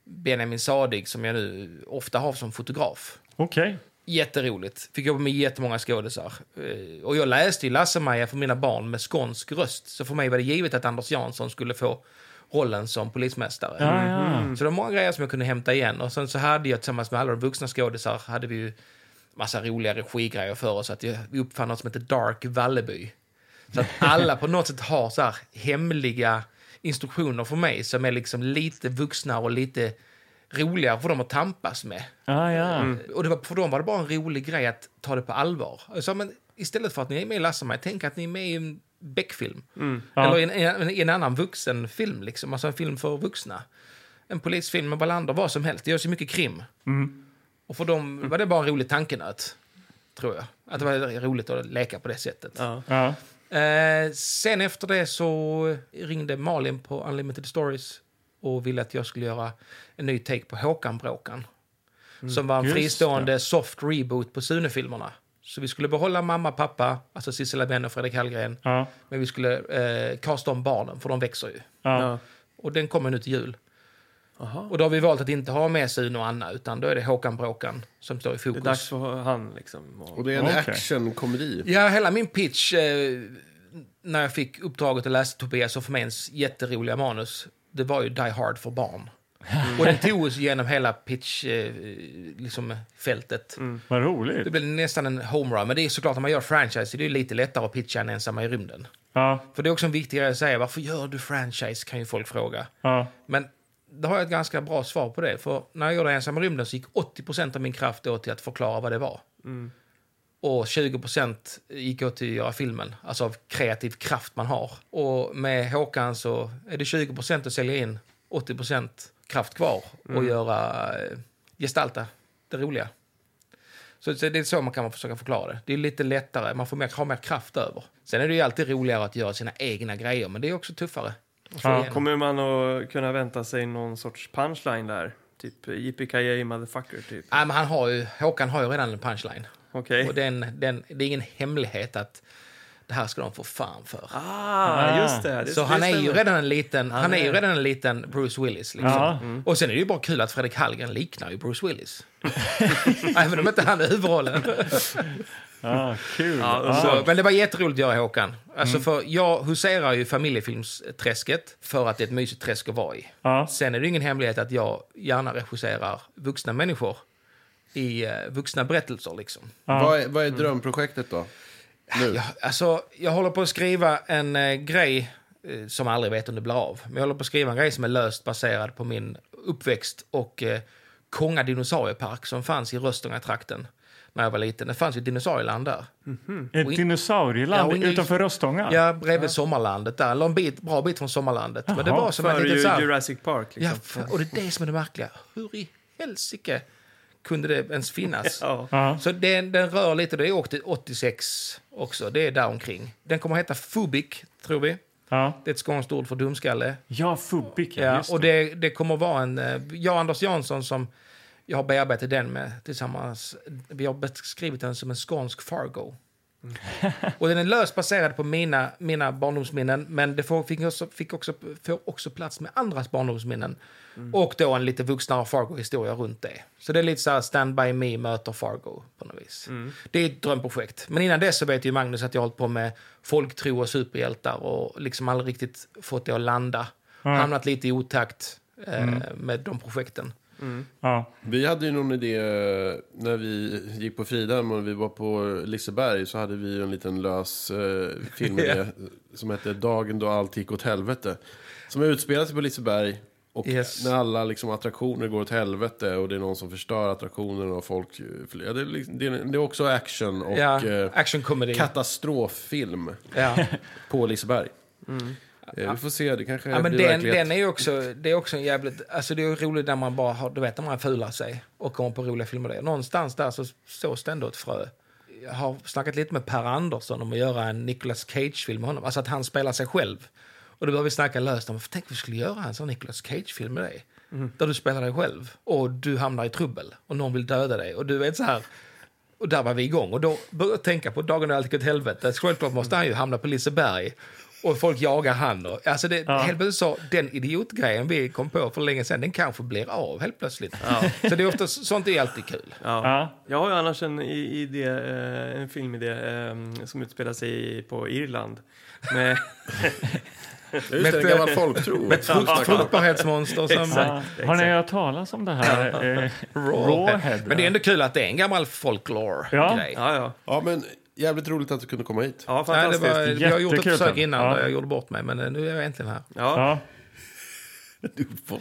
Benjamin Sadig som jag nu ofta har som fotograf. Okej. Jätteroligt. Fick jobba med jättemånga skådisar. Eh, Och jag läste ju Lasse-Maja för mina barn med skånsk röst. Så för mig var det givet att Anders Jansson skulle få rollen som polismästare. Mm. Ja, ja. Så det var många grejer som jag kunde hämta igen. Och sen så hade jag tillsammans med alla de vuxna skådisar hade vi ju massa roliga regigrejer för oss. Att jag- vi uppfann något som heter Dark Valleby. Så att alla på något sätt har så här hemliga instruktioner för mig som är liksom lite vuxna och lite roligare för dem att tampas med. Ja, ja. Och det var, för dem var det bara en rolig grej att ta det på allvar. Jag sa, men istället för att ni är med i Lasse-Maj, tänk att ni är med i en Beck-film. Ja. Eller i en, en, i en annan vuxenfilm, liksom. alltså en film för vuxna. En polisfilm med Wallander, vad som helst. Det görs ju mycket krim. Och för dem var det bara en rolig tankenöt, tror jag. Att det var roligt att leka på det sättet. Ja. ja. Eh, sen efter det så ringde Malin på Unlimited Stories och ville att jag skulle göra en ny take på Håkan-bråkan. Mm, Som var en Just fristående soft reboot på Sune-filmerna. Så vi skulle behålla mamma, pappa, alltså Sissela Benn och Fredrik Hallgren. ja. Men vi skulle eh, kasta om barnen, för de växer ju. ja. Och den kommer nu till jul. Och då har vi valt att inte ha med Sune och Anna, utan då är det Håkan-bråkan som står i Det är fokus. dags för han liksom. Och Och, det är en Okej. actionkomedi. Ja, hela min pitch eh, när jag fick uppdraget att läsa Tobias och Förmens jätteroliga manus, det var ju Die Hard för barn. Och den tog oss genom hela pitch-fältet. Liksom, fältet. Vad det roligt. blev nästan en homerun, men det är såklart när man gör franchise, det är ju lite lättare att pitcha än ensamma i rymden. Ja, För det är också en viktig grej att säga, varför gör du franchise, kan ju folk fråga. ja. Men då har jag ett ganska bra svar på det. För när jag gjorde Ensam i rymden så gick 80% av min kraft åt till att förklara vad det var. Och 20% gick åt till att göra filmen, alltså av kreativ kraft man har. Och med Håkan så är det 20% att sälja in, 80% kraft kvar och göra, eh, gestalta det roliga. Så så det är så man kan försöka förklara det. Det är lite lättare, man får mer, har mer kraft över. Sen är det ju alltid roligare att göra sina egna grejer, men det är också tuffare. att få Ja, igenom. kommer man att kunna vänta sig någon sorts punchline där? Typ yippee motherfucker typ. Nej, men han har ju, Håkan har ju redan en punchline. Okej. Och den, den, det är ingen hemlighet att det här ska de få fan för. Ah, just det. det så han det är ju stämmer. redan en liten, han är ju är- redan en liten Bruce Willis. Liksom. Ja. Mm. Och sen är det ju bara kul att Fredrik Hallgren liknar ju Bruce Willis. Även om inte han är huvudrollen. ja kul. Ja, Ja. Så, men det var jätteroligt att göra Håkan. Alltså för jag huserar ju familjefilmsträsket för att det är ett mysigt träsk att vara i. Ja. Sen är det ju ingen hemlighet att jag gärna regisserar vuxna människor i eh, vuxna berättelser liksom. Vad, är, vad är drömprojektet då? Nu. Jag, alltså, jag håller på att skriva en eh, grej eh, som jag aldrig vet om det blir av. Men jag håller på att skriva en grej som är löst baserad på min uppväxt och eh, Konga dinosauriepark som fanns i Röstånga-trakten när jag var liten. Det fanns ju ett dinosaurieland där. Ett dinosaurieland Ja, och- utanför Röstånga? Ja, bredvid Sommarlandet där. Eller en bit, bra bit från Sommarlandet. Men det Jaha, var som ett Före litet ju så här- Jurassic Park Ja, liksom. för- och det är det som är det märkliga. Hur i helsike kunde det ens finnas? Ja. Ja. Så den, den rör lite, det är åkt till 86 också, det är där omkring. Den kommer att heta Fubik, tror vi. Ja, Det är ett skånskt ord för dumskalle. ja Fubik. Ja, Ja, just och det. det, det kommer att vara en... eh, Jag och Anders Jansson som jag har bearbetat den med tillsammans, vi har beskrivit den som en skånsk Fargo. och den är löst baserad på mina, mina barndomsminnen men det får, fick, också, fick också, får också plats med andras barndomsminnen. Och då en lite vuxnare Fargo-historia runt det. Så det är lite så här Stand By Me möter Fargo på något vis. Det är ett drömprojekt. Men innan dess så vet ju Magnus att jag har hållit på med folktro och superhjältar och liksom aldrig riktigt fått det att landa. Hamnat lite i otakt eh, med de projekten. Ja. Vi hade ju någon idé eh, när vi gick på Fridhem och vi var på Liseberg så hade vi ju en liten lös eh, filmidé *laughs* som hette Dagen då allt gick åt helvete. Som utspelar sig på Liseberg och Yes. när alla liksom, attraktioner går åt helvete och det är någon som förstör attraktionerna och folk... Ja, det, är liksom, det, är, det är också action och ja, eh, actionkomedi. katastroffilm Ja. på Liseberg. Eh, vi får se, det kanske Mm. Ja, men blir den, verklighet. den är ju också, det är också en jävligt, alltså det är ju roligt när man bara har, du vet när man fular sig och kommer på roliga filmer där. Någonstans där så sås det ändå ett frö. Jag har snackat lite med Per Andersson om att göra en Nicolas Cage-film med honom, alltså att han spelar sig själv. Och då började vi snacka löst om, tänk om vi skulle göra en sån Nicolas Cage-film med dig. Mm. Där du spelar dig själv och du hamnar i trubbel och någon vill döda dig och du vet så här. Och där var vi igång. Och då började jag tänka på dagen när allt gick åt helvete. Självklart måste han ju hamna på Liseberg Och folk jagar han. Och, alltså det, Ja. Helt plötsligt så, den idiotgrejen vi kom på för länge sedan, den kanske blir av helt plötsligt. Så det är ofta, sånt är alltid kul. Ja. Jag har ju annars en, i- idé, eh, en filmidé eh, som utspelar sig i- på Irland. *laughs* Med, Just det, en gammal folktro. Frukt, fruktbarhetsmonster som... Ja. Har ni hört talas om *laughs* det här? eh, Rawhead. Men det är ändå kul att det är en gammal folklore-grej. ja, ja. Ja, men jävligt roligt att du kunde komma hit. ja, Nej, det fantastiskt. var, jag har gjort ett Jättekul försök film. innan Ja. där jag gjorde bort mig, men eh, nu är jag äntligen här. ja. ja.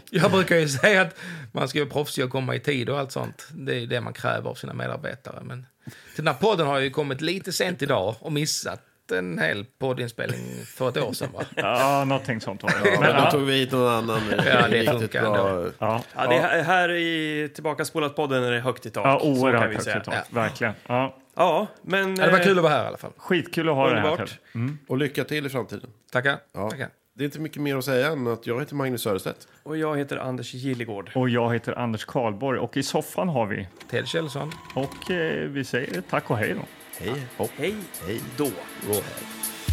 Jag brukar ju *laughs* säga att man ska vara proffsig och komma i tid och allt sånt. Det är det man kräver av sina medarbetare. Men till den här podden har jag ju kommit lite sent idag och missat en hel poddinspelning för ett år sedan. Va? ja, någonting sånt var det. Ja, Men, men då ja. tog vi hit någon annan. Ja, det riktigt funkar ändå. Ja. Ja, det är här- här i Tillbaka spolat podden är det högt i tak. Ja, så kan oerhört vi högt säga. i tak. Verkligen. Ja. Ja, men... Ja, det var eh, kul att vara här i alla fall. Skitkul att ha det här. Underbart. Ted. Och lycka till i framtiden. Tackar. Ja. Tackar. Det är inte mycket mer att säga än att jag heter Magnus Örestedt. eh, Och jag heter Anders Gillegård. Och jag heter Anders Karlborg och i soffan har vi... Ted Kjellson. Och eh, vi säger tack och hej då. Hej, hopp, Hej hej. då! Rawhead.